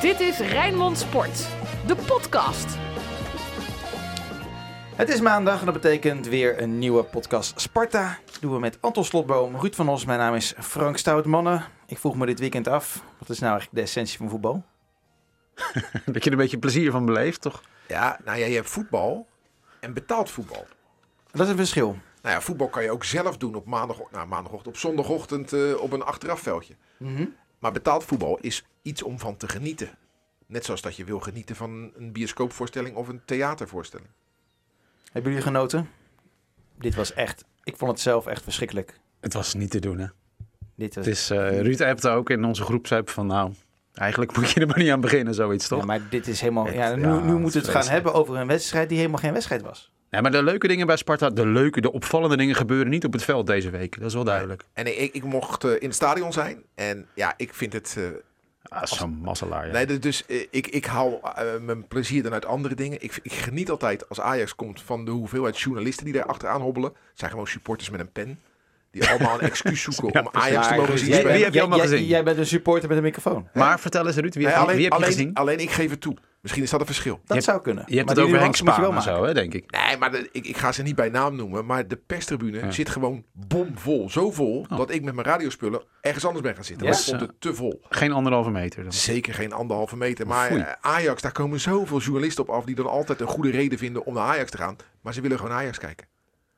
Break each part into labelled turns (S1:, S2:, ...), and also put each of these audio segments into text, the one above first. S1: Dit is Rijnmond Sport, de podcast.
S2: Het is maandag en dat betekent weer een nieuwe podcast Sparta. Dat doen we met Anton Slotboom, Ruud van Os. Mijn naam is Frank Stoutmannen. Ik vroeg me dit weekend af, wat is nou eigenlijk de essentie van voetbal?
S3: Dat je er een beetje plezier van beleeft, toch?
S4: Ja, nou ja, je hebt voetbal en betaald voetbal.
S2: Dat is een verschil.
S4: Nou ja, voetbal kan je ook zelf doen op maandag, nou, maandagochtend, op zondagochtend eh, op een achterafveldje. Maar betaald voetbal is iets om van te genieten. Net zoals dat je wil genieten van een bioscoopvoorstelling of een theatervoorstelling.
S2: Hebben jullie genoten? Dit was echt, ik vond het zelf echt verschrikkelijk.
S3: Het was niet te doen, hè?
S2: Dit was,
S3: Het is, eh, Ruud appte ook in onze groepsapp van nou, eigenlijk moet je er maar niet aan beginnen, zoiets toch?
S2: Ja, maar dit is helemaal,
S3: Het-
S2: ja, nu,
S3: ja,
S2: nu
S3: het
S2: moeten we het
S3: vreselijk.
S2: gaan hebben over een wedstrijd die helemaal geen wedstrijd was.
S3: Nee, maar de leuke dingen bij Sparta, de leuke, de opvallende dingen gebeuren niet op het veld deze week. Dat is wel duidelijk.
S4: En ik, ik mocht eh, in het stadion zijn en ja, ik vind het... eh,
S3: Ah, zo'n mazzelaar, ja.
S4: nee, dus- dus eh, ik, ik haal eh, mijn plezier dan uit andere dingen. Ik, ik geniet altijd als Ajax komt van de hoeveelheid journalisten die daar achteraan hobbelen. Het zijn gewoon supporters met een pen. Die allemaal een excuus zoeken om Ajax
S2: Maar
S4: te mogen
S2: Ruud,
S4: zien
S2: jij-
S4: spelen.
S3: Wie heb je
S2: jij-
S3: allemaal
S2: jij-
S3: gezien?
S2: Jij bent een supporter met een microfoon.
S3: Maar vertel eens Ruud, wie,
S4: Nee,
S3: wie
S4: alleen,
S3: heb je
S4: alleen,
S3: gezien?
S4: alleen ik geef het toe. Misschien is dat een verschil.
S2: Dat
S3: Je-
S2: zou kunnen.
S3: Je hebt
S2: Maar
S3: het
S2: die
S3: over Henk
S2: nuance moet je wel
S3: Spaan en zo,
S2: maken.
S3: hè, denk ik.
S4: Nee, maar de- ik, ik ga ze niet bij naam noemen. Maar de perstribune zit gewoon bomvol. Zo vol
S3: Oh.
S4: dat ik met mijn radiospullen ergens anders ben gaan zitten.
S2: Ja?
S4: Want ik vond het te vol.
S3: Geen anderhalve meter. dus. Dan.
S4: Zeker geen anderhalve meter. Maar
S3: Foei.
S4: eh, Ajax, daar komen zoveel journalisten op af... die dan altijd een goede reden vinden om naar Ajax te gaan. Maar ze willen gewoon Ajax kijken.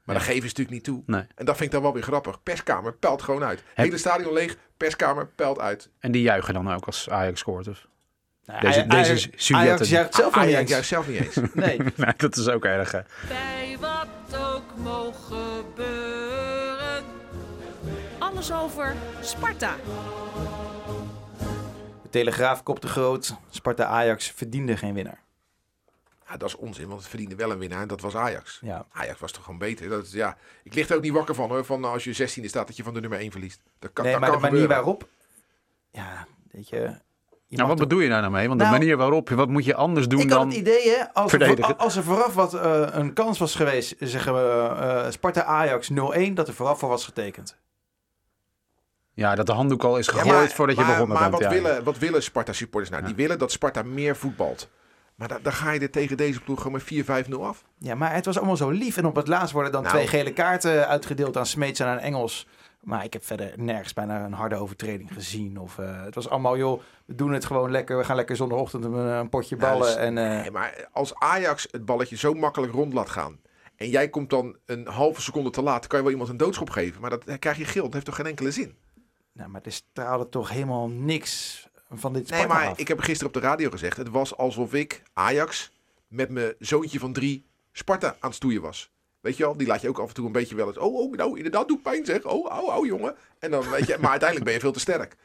S4: Maar dat geven ze natuurlijk niet toe.
S3: Nee.
S4: En dat vind ik dan wel weer grappig. Perskamer pelt gewoon uit. Hele stadion leeg, perskamer pelt uit.
S3: En die juichen dan ook als Ajax scoort. Of...
S2: Nou,
S3: Deze-
S2: Aj- Aj-
S3: deze Sudetten.
S2: Ajax juicht zelf nog niet
S4: Ajax
S2: eens.
S4: juist zelf niet eens.
S2: Nee.
S3: Nee, dat is ook erg. hè.
S1: Bij wat ook mogen gebeuren. Alles over Sparta.
S2: De Telegraaf kopte groot. Sparta Ajax verdiende geen winnaar.
S4: Ja, dat is onzin, want het verdiende wel een winnaar en dat was Ajax.
S2: Ja.
S4: Ajax was toch gewoon beter. Dat is, ja, ik lig er ook niet wakker van hoor, van eh, als je 16e staat dat je van de nummer 1 verliest. Dat kan,
S2: nee,
S4: dat
S2: maar de
S4: kan
S2: manier
S4: gebeuren.
S2: waarop. Ja, weet je. je mag
S3: Nou, wat
S2: toch-
S3: bedoel je daar nou mee? Want
S2: Nou,
S3: de manier waarop, wat moet je anders doen
S2: ik had
S3: dan...
S2: het idee, hè, als er, voor-
S3: verdedigen.
S2: als er vooraf wat eh, een kans was geweest, zeggen we eh, Sparta Ajax 0-1, dat er vooraf voor was getekend.
S3: Ja, dat de handdoek al is
S4: Ja,
S3: gegooid
S4: maar-
S3: voordat je
S4: maar-
S3: begonnen
S4: maar
S3: bent.
S4: wat,
S3: ja.
S4: willen, wat willen Sparta supporters nou? Die willen dat Sparta meer voetbalt. Maar da- dan ga je er tegen deze ploeg gewoon met 4-5-0 af.
S2: Ja, maar het was allemaal zo lief. En op het laatst worden dan
S4: Nou.
S2: twee gele kaarten uitgedeeld aan Smeets en aan Engels. Maar ik heb verder nergens bijna een harde overtreding gezien. Of, eh, het was allemaal, joh, we doen het gewoon lekker. We gaan lekker zondagochtend een, eh, een potje
S4: Nou,
S2: ballen.
S4: dus-
S2: en, eh,
S4: Nee, maar als Ajax het balletje zo makkelijk rond laat gaan en jij komt dan een halve seconde te laat, kan je wel iemand een doodschop geven. Maar dat dan krijg je geel, dat heeft toch geen enkele zin?
S2: Nou, maar er straalde toch helemaal niks van dit
S4: Nee,
S2: Sparta
S4: maar
S2: af.
S4: ik heb gisteren op de radio gezegd: het was alsof ik Ajax met mijn zoontje van drie Sparta aan het stoeien was. Weet je wel, die laat je ook af en toe een beetje wel eens. Oh, oh, nou, inderdaad, doet pijn zeg. Oh, au, au, jongen. En dan weet je, maar uiteindelijk ben je veel te sterk.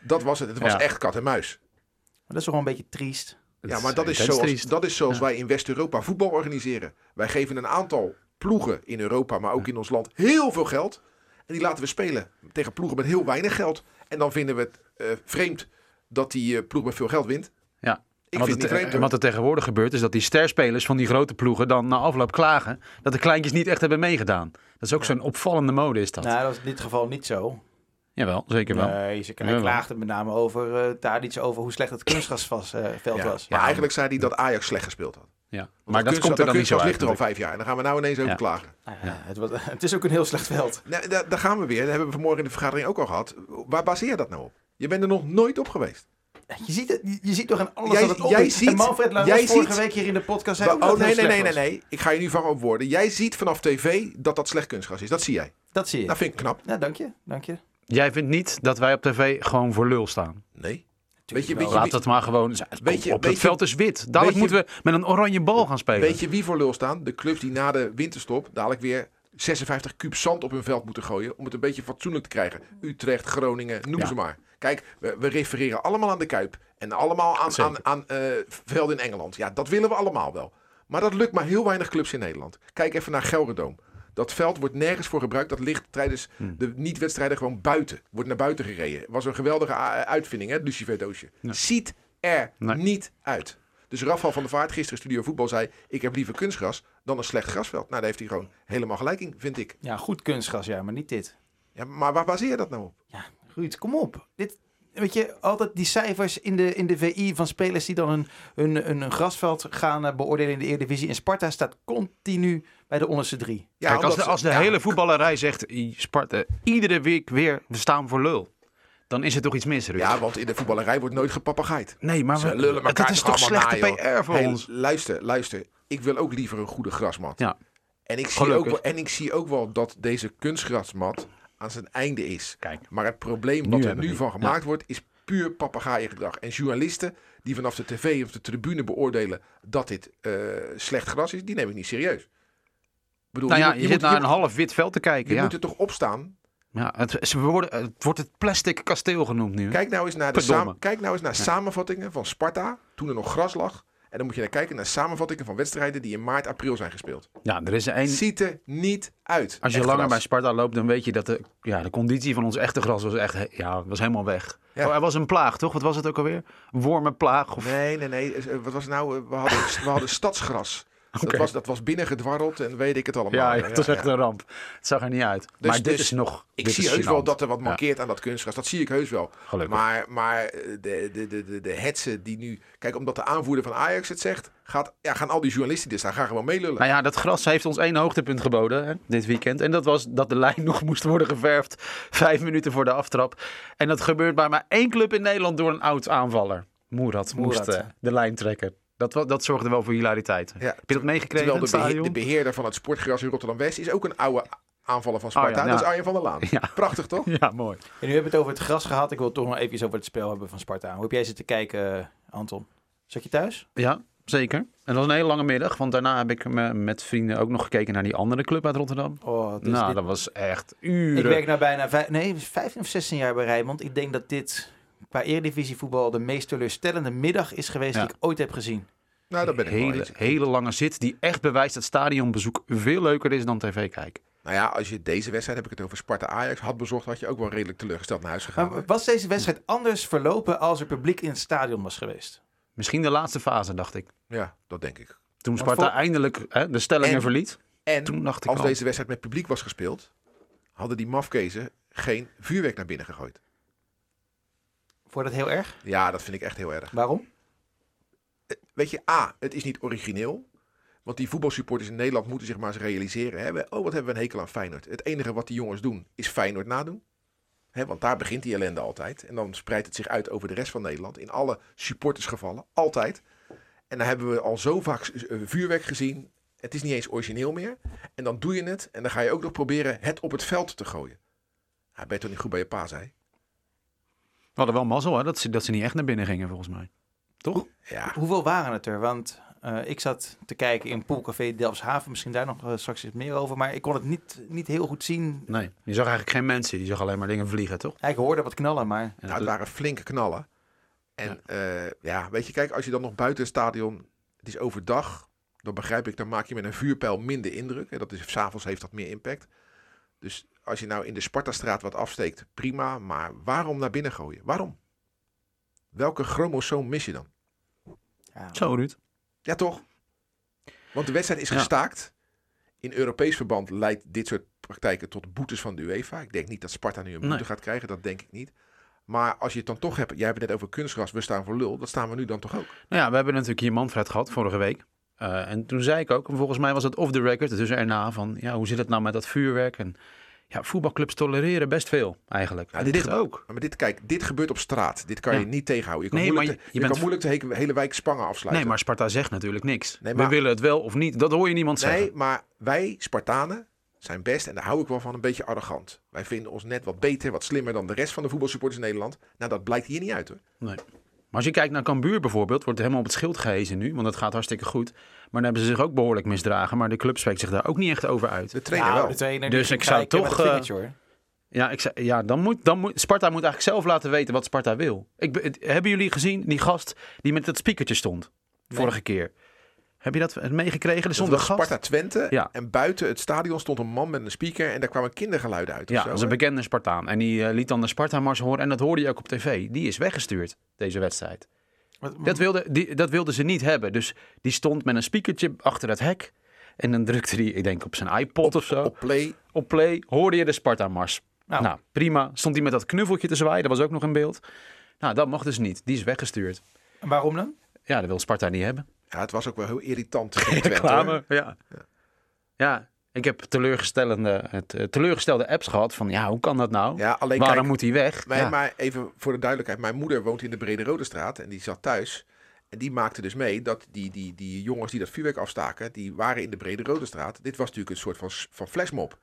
S4: Dat was het. Het was
S3: Ja.
S4: echt kat en muis.
S2: Maar dat is toch wel een beetje triest.
S4: ja, maar dat is,
S3: intens
S4: zoals,
S3: triest.
S4: dat is zoals wij in West-Europa voetbal organiseren. Wij geven een aantal ploegen in Europa, maar ook in ons land, heel veel geld. En die laten we spelen tegen ploegen met heel weinig geld. En dan vinden we het eh, vreemd dat die eh, ploeg met veel geld wint.
S3: Ja.
S4: Ik
S3: En wat,
S4: vind
S3: het,
S4: het niet vreemd,
S3: en wat er tegenwoordig gebeurt is dat die sterspelers van die grote ploegen dan na afloop klagen dat de kleintjes niet echt hebben meegedaan. Dat is ook zo'n opvallende mode is dat.
S2: Nou, dat is in dit geval niet zo.
S3: Jawel, zeker wel.
S2: Nee, ze hij
S3: Jawel.
S2: klaagde met name over eh Tadic, over hoe slecht het kunstgrasveld veld
S4: Ja,
S2: was.
S4: Maar eigenlijk zei hij dat Ajax slecht gespeeld had. Want
S3: ja. Maar
S4: dat
S3: dat
S4: kunst-
S3: komt er dan niet zo
S4: kunstgras
S3: uit.
S4: ligt er al vijf jaar en dan gaan we nou ineens over
S3: Ja.
S4: klagen.
S2: Nou ja, het, was- het is ook een heel slecht veld.
S4: Nou, daar, daar gaan we weer. Dat hebben we vanmorgen in de vergadering ook al gehad. Waar baseer je dat nou op? Je bent er nog nooit op geweest.
S2: Je ziet, het, je- je ziet toch een alles
S4: Jij-
S2: dat het op
S4: jij
S2: is. en
S4: ziet-
S2: Manfred Lalas
S4: jij
S2: vorige
S4: ziet-
S2: week hier in de podcast zei ook dat
S4: Oh
S2: het
S4: nee,
S2: heel
S4: nee, nee,
S2: slecht
S4: nee,
S2: was.
S4: nee. Ik ga je nu vangen op woorden. Jij ziet vanaf tv dat dat slecht kunstgras is. Dat zie jij.
S2: Dat zie je.
S4: Dat vind ik knap.
S2: Nou, dank je. Dank je.
S3: Jij vindt niet dat wij op tv gewoon voor lul staan.
S4: Nee. Weet je,
S2: wel.
S4: weet, je,
S3: Laat
S4: wie,
S3: dat maar gewoon.
S4: Weet je-
S3: op
S4: weet
S3: het
S4: je-
S3: veld is wit. Dadelijk
S4: weet je-
S3: moeten we met een oranje bal gaan spelen.
S4: weet je wie voor lul staan? De clubs die na de winterstop dadelijk weer 56 kuub zand op hun veld moeten gooien. Om het een beetje fatsoenlijk te krijgen. Utrecht, Groningen, noem
S3: Ja.
S4: ze maar. Kijk, we, we refereren allemaal aan de Kuip. En allemaal aan,
S3: Zeker.
S4: aan, aan eh, velden in Engeland. Ja, dat willen we allemaal wel. Maar dat lukt maar heel weinig clubs in Nederland. Kijk even naar Gelredome. Dat veld wordt nergens voor gebruikt. Dat ligt tijdens
S3: Hmm.
S4: de niet-wedstrijden gewoon buiten. Wordt naar buiten gereden. Was een geweldige a- uitvinding, hè, het luciferdoosje. Ziet er
S3: Nee.
S4: niet uit. Dus Rafael van der Vaart, gisteren Studio Voetbal, zei... ik heb liever kunstgras dan een slecht grasveld. Nou, daar heeft hij gewoon helemaal gelijk in, vind ik.
S2: Ja, goed kunstgras, ja, maar niet dit.
S4: Ja, maar waar baseer je dat nou op?
S2: Ja, Ruud, kom op. Dit, weet je, altijd die cijfers in de, in de VI van spelers die dan hun, hun, hun grasveld gaan eh, beoordelen in de Eredivisie. En Sparta staat continu bij de onderste drie.
S4: Ja,
S3: Kijk, als
S4: omdat
S3: de,
S4: ze-
S3: als de
S4: ja,
S3: hele voetballerij zegt, "I- Sparta, iedere week weer, we staan voor lul. Dan is er toch iets mis, Ruud?
S4: Ja, want in de voetballerij wordt nooit gepapagaaid.
S3: nee, maar
S4: Ze
S3: we,
S4: lullen elkaar
S3: dat is toch
S4: allemaal
S3: slechte
S4: na, joh.
S3: PR voor
S4: Hey,
S3: ons?
S4: Luister, luister. Ik wil ook liever een goede grasmat.
S3: Ja.
S4: En, ik zie ook
S3: Gelukkig.
S4: wel, en ik zie ook wel dat deze kunstgrasmat aan zijn einde is.
S3: Kijk.
S4: Maar het probleem
S3: Nu
S4: wat er
S3: hebben we die.
S4: nu van gemaakt wordt, is puur papegaaiengedrag. En journalisten die vanaf de tv of de tribune beoordelen dat dit eh, slecht gras is, die neem ik niet serieus. Ik bedoel,
S3: Nou ja,
S4: moet-
S3: je,
S4: moet-
S3: zit naar
S4: je
S3: een
S4: moet-
S3: half wit veld te kijken.
S4: Je
S3: Ja.
S4: moet er toch opstaan.
S3: Ja, het, ze worden, het wordt het plastic kasteel genoemd nu.
S4: Kijk nou eens naar, de
S3: Hm? Verdomme.
S4: saam- kijk nou eens naar samenvattingen van Sparta, toen er nog gras lag. En dan moet je naar kijken naar samenvattingen van wedstrijden die in maart, april zijn gespeeld.
S3: Ja, er is één.
S4: Ziet er niet uit.
S3: Als je
S4: Echt
S3: langer bij
S4: gras.
S3: Sparta loopt, dan weet je dat de, ja, de conditie van ons echte gras was echt he- ja, was helemaal weg.
S4: Ja.
S3: Oh, er was een plaag, toch? Wat was het ook alweer? Een Wormenplaag? Of...
S4: Nee, nee, nee. Eh, Wat was het nou? Eh, We hadden, we hadden stadsgras.
S3: Oké.
S4: Dat, was, dat was binnengedwarreld en weet ik het allemaal.
S3: ja, ja, het was echt een ramp. Het zag er niet uit. maar dit
S4: dus
S3: is nog.
S4: Ik
S3: dit
S4: zie
S3: is
S4: heus wel
S3: gênant.
S4: dat er wat
S3: Ja.
S4: mankeert aan dat kunstgras. Dat zie ik heus wel.
S3: Gelukkig.
S4: Maar, maar eh, de, de, de, de, de hetsen die nu... Kijk, omdat de aanvoerder van Ajax het zegt... Gaat, ja, gaan al die journalisten die er staan gaan gewoon meelullen.
S3: Nou ja, dat gras heeft ons één hoogtepunt geboden hè, dit weekend. En dat was dat de lijn nog moest worden geverfd vijf minuten voor de aftrap. En dat gebeurt bij maar één club in Nederland door een oud aanvaller. Moerad, moest
S2: Moerad,
S3: eh,
S2: ja.
S3: de lijn trekken. Dat, wa- dat zorgde wel voor hilariteit.
S4: Ja,
S3: Heb je dat meegekregen in
S4: Terwijl
S3: het
S4: de, behe-
S3: stadion?
S4: de beheerder van het sportgras in Rotterdam-West... is ook een oude aanvaller van Sparta.
S3: Oh ja, ja.
S4: Dat is Arjen van der Laan.
S3: Ja.
S4: Prachtig, toch?
S3: Ja, mooi.
S2: En nu hebben we het over het gras gehad. Ik wil toch nog even iets over het spel hebben van Sparta. Hoe heb jij zitten kijken, eh, Anton? Zat je thuis?
S3: Ja, zeker. En dat was een hele lange middag, want daarna heb ik me met vrienden ook nog gekeken naar die andere club uit Rotterdam.
S2: Oh, het is
S3: nou,
S2: dit-
S3: dat was echt
S2: Ik
S3: uren.
S2: werk nou bijna vijf, nee, 15 of 16 jaar bij Rijnmond. Ik denk dat dit qua eredivisievoetbal de meest teleurstellende middag is geweest
S3: Ja.
S2: die ik ooit heb gezien.
S4: Nou, dat ben ik wel
S3: hele,
S4: eens.
S3: hele lange zit die echt bewijst dat stadionbezoek veel leuker is dan tv kijken.
S4: Nou ja, als je deze wedstrijd, heb ik het over Sparta-Ajax, had bezocht... had je ook wel redelijk teleurgesteld naar huis gegaan.
S2: Maar was deze wedstrijd anders verlopen als er publiek in het stadion was geweest?
S3: Misschien de laatste fase, dacht ik.
S4: Ja, dat denk ik.
S3: Toen
S2: Want
S3: Sparta
S2: voor-
S3: eindelijk hè, de stellingen
S4: En-
S3: verliet.
S4: En
S3: Toen dacht ik
S4: als
S3: al.
S4: deze wedstrijd met publiek was gespeeld, hadden die mafkezen geen vuurwerk naar binnen gegooid.
S2: Vond je dat heel erg?
S4: Ja, dat vind ik echt heel erg.
S2: Waarom?
S4: Weet je, A, het is niet origineel. Want die voetbalsupporters in Nederland moeten zich maar eens realiseren. Hè, we- oh, wat hebben we een hekel aan Feyenoord. Het enige wat die jongens doen, is Feyenoord nadoen. Hè, want daar begint die ellende altijd. En dan spreidt het zich uit over de rest van Nederland. In alle supportersgevallen, altijd. En dan hebben we al zo vaak eh, vuurwerk gezien. Het is niet eens origineel meer. En dan doe je het. En dan ga je ook nog proberen het op het veld te gooien. Ja, ben je toch niet goed bij je pa, zei?
S3: We hadden wel mazzel hè, dat, ze, dat ze niet echt naar binnen gingen volgens mij. Toch?
S4: Ja,
S2: Hoeveel waren het er? Want eh, ik zat te kijken in Poolcafé Delfshaven. Misschien daar nog eh, straks iets meer over. Maar ik kon het niet, niet heel goed zien.
S3: Nee, je zag eigenlijk geen mensen. Die zag alleen maar dingen vliegen, toch?
S2: Ja, Ik hoorde wat knallen, maar
S3: En
S4: Nou, het
S3: dat-
S4: waren flinke knallen. En ja. ja, weet je, kijk, als je dan nog buiten het stadion, het is overdag, dan begrijp ik, dan maak je met een vuurpijl minder indruk. En dat is, s'avonds heeft dat meer impact. Dus als je nou in de Spartastraat wat afsteekt, prima. Maar waarom naar binnen gooien? Waarom? Welke chromosoom mis je dan?
S2: ja,
S3: Zo, Ruud.
S4: Ja, toch? Want de wedstrijd is
S3: Ja.
S4: gestaakt. In Europees verband leidt dit soort praktijken tot boetes van de UEFA. Ik denk niet dat Sparta nu een boete
S3: Nee.
S4: gaat krijgen, dat denk ik niet. Maar als je het dan toch hebt, jij hebt het net over kunstgras, we staan voor lul, dat staan we nu dan toch ook.
S3: Nou ja, we hebben natuurlijk hier Manfred gehad vorige week. Eh, en toen zei ik ook, en volgens mij was het off the record, dus erna van, ja, hoe zit het nou met dat vuurwerk? En ja, voetbalclubs tolereren best veel eigenlijk.
S4: Ja,
S3: en
S4: dit
S3: dit,
S4: gebe-
S3: ook.
S4: Maar dit, kijk, dit gebeurt op straat. Dit kan
S3: Ja.
S4: je niet tegenhouden. Je kan,
S3: Nee,
S4: moeilijk,
S3: maar
S4: de,
S3: je
S4: je
S3: bent-
S4: kan moeilijk de heke- hele wijk Spangen afsluiten.
S3: Nee, maar Sparta zegt natuurlijk niks.
S4: Nee, maar-
S3: We willen het wel of niet. Dat hoor je niemand
S4: Nee,
S3: zeggen.
S4: maar wij Spartanen zijn best, en daar hou ik wel van, een beetje arrogant. Wij vinden ons net wat beter, wat slimmer dan de rest van de voetbalsupporters in Nederland. Nou, dat blijkt hier niet uit hoor.
S3: Nee. Maar als je kijkt naar Cambuur bijvoorbeeld, wordt helemaal op het schild gehezen nu, want dat gaat hartstikke goed. Maar dan hebben ze zich ook behoorlijk misdragen, maar de club spreekt zich daar ook niet echt over uit.
S4: De trainer
S2: Nou,
S4: wel.
S2: de trainer
S3: Dus
S2: die
S3: ik zou
S2: kijkt met
S3: toch,
S2: het vingertje, hoor.
S3: Ja, ik zei, ja dan, moet, dan moet Sparta moet eigenlijk zelf laten weten wat Sparta wil. Ik, be- het- hebben jullie gezien die gast die met dat spiekertje stond vorige keer? Heb je dat meegekregen? Er
S4: Dat
S3: stond een
S4: was
S3: gast.
S4: Sparta Twente.
S3: Ja.
S4: En buiten het stadion stond een man met een speaker. En daar kwamen kindergeluiden uit. of
S3: Ja,
S4: zo,
S3: dat is een
S4: hè?
S3: bekende Spartaan. En die eh, liet dan de Sparta-mars horen. En dat hoorde je ook op tv. Die is weggestuurd, deze wedstrijd.
S2: Wat-
S3: Dat wilden die, dat wilde ze niet hebben. Dus die stond met een speakertje achter het hek. En dan drukte hij, ik denk op zijn iPod of zo,
S4: Op play.
S3: op play, hoorde je de Sparta-mars.
S2: Nou.
S3: Nou. prima. Stond hij met dat knuffeltje te zwaaien, dat was ook nog in beeld. Nou, dat mag dus niet. Die is weggestuurd.
S2: En waarom dan?
S3: Ja, dat wil Sparta niet hebben.
S4: Ja, het was ook wel heel irritant. tegen Twente, hoor.
S3: Reclame, ja. Ja, ik heb teleurgestellende, het, eh, teleurgestelde apps gehad van, ja, hoe kan dat nou?
S4: Ja, alleen
S3: Waarom
S4: kijk,
S3: moet hij weg?
S4: Wij,
S3: ja.
S4: Maar even voor de duidelijkheid. Mijn moeder woont in de Brede Rode Straat en die zat thuis. En die maakte dus mee dat die, die, die jongens die dat vuurwerk afstaken, die waren in de Brede Rode Straat. Dit was natuurlijk een soort van, s- van flashmob.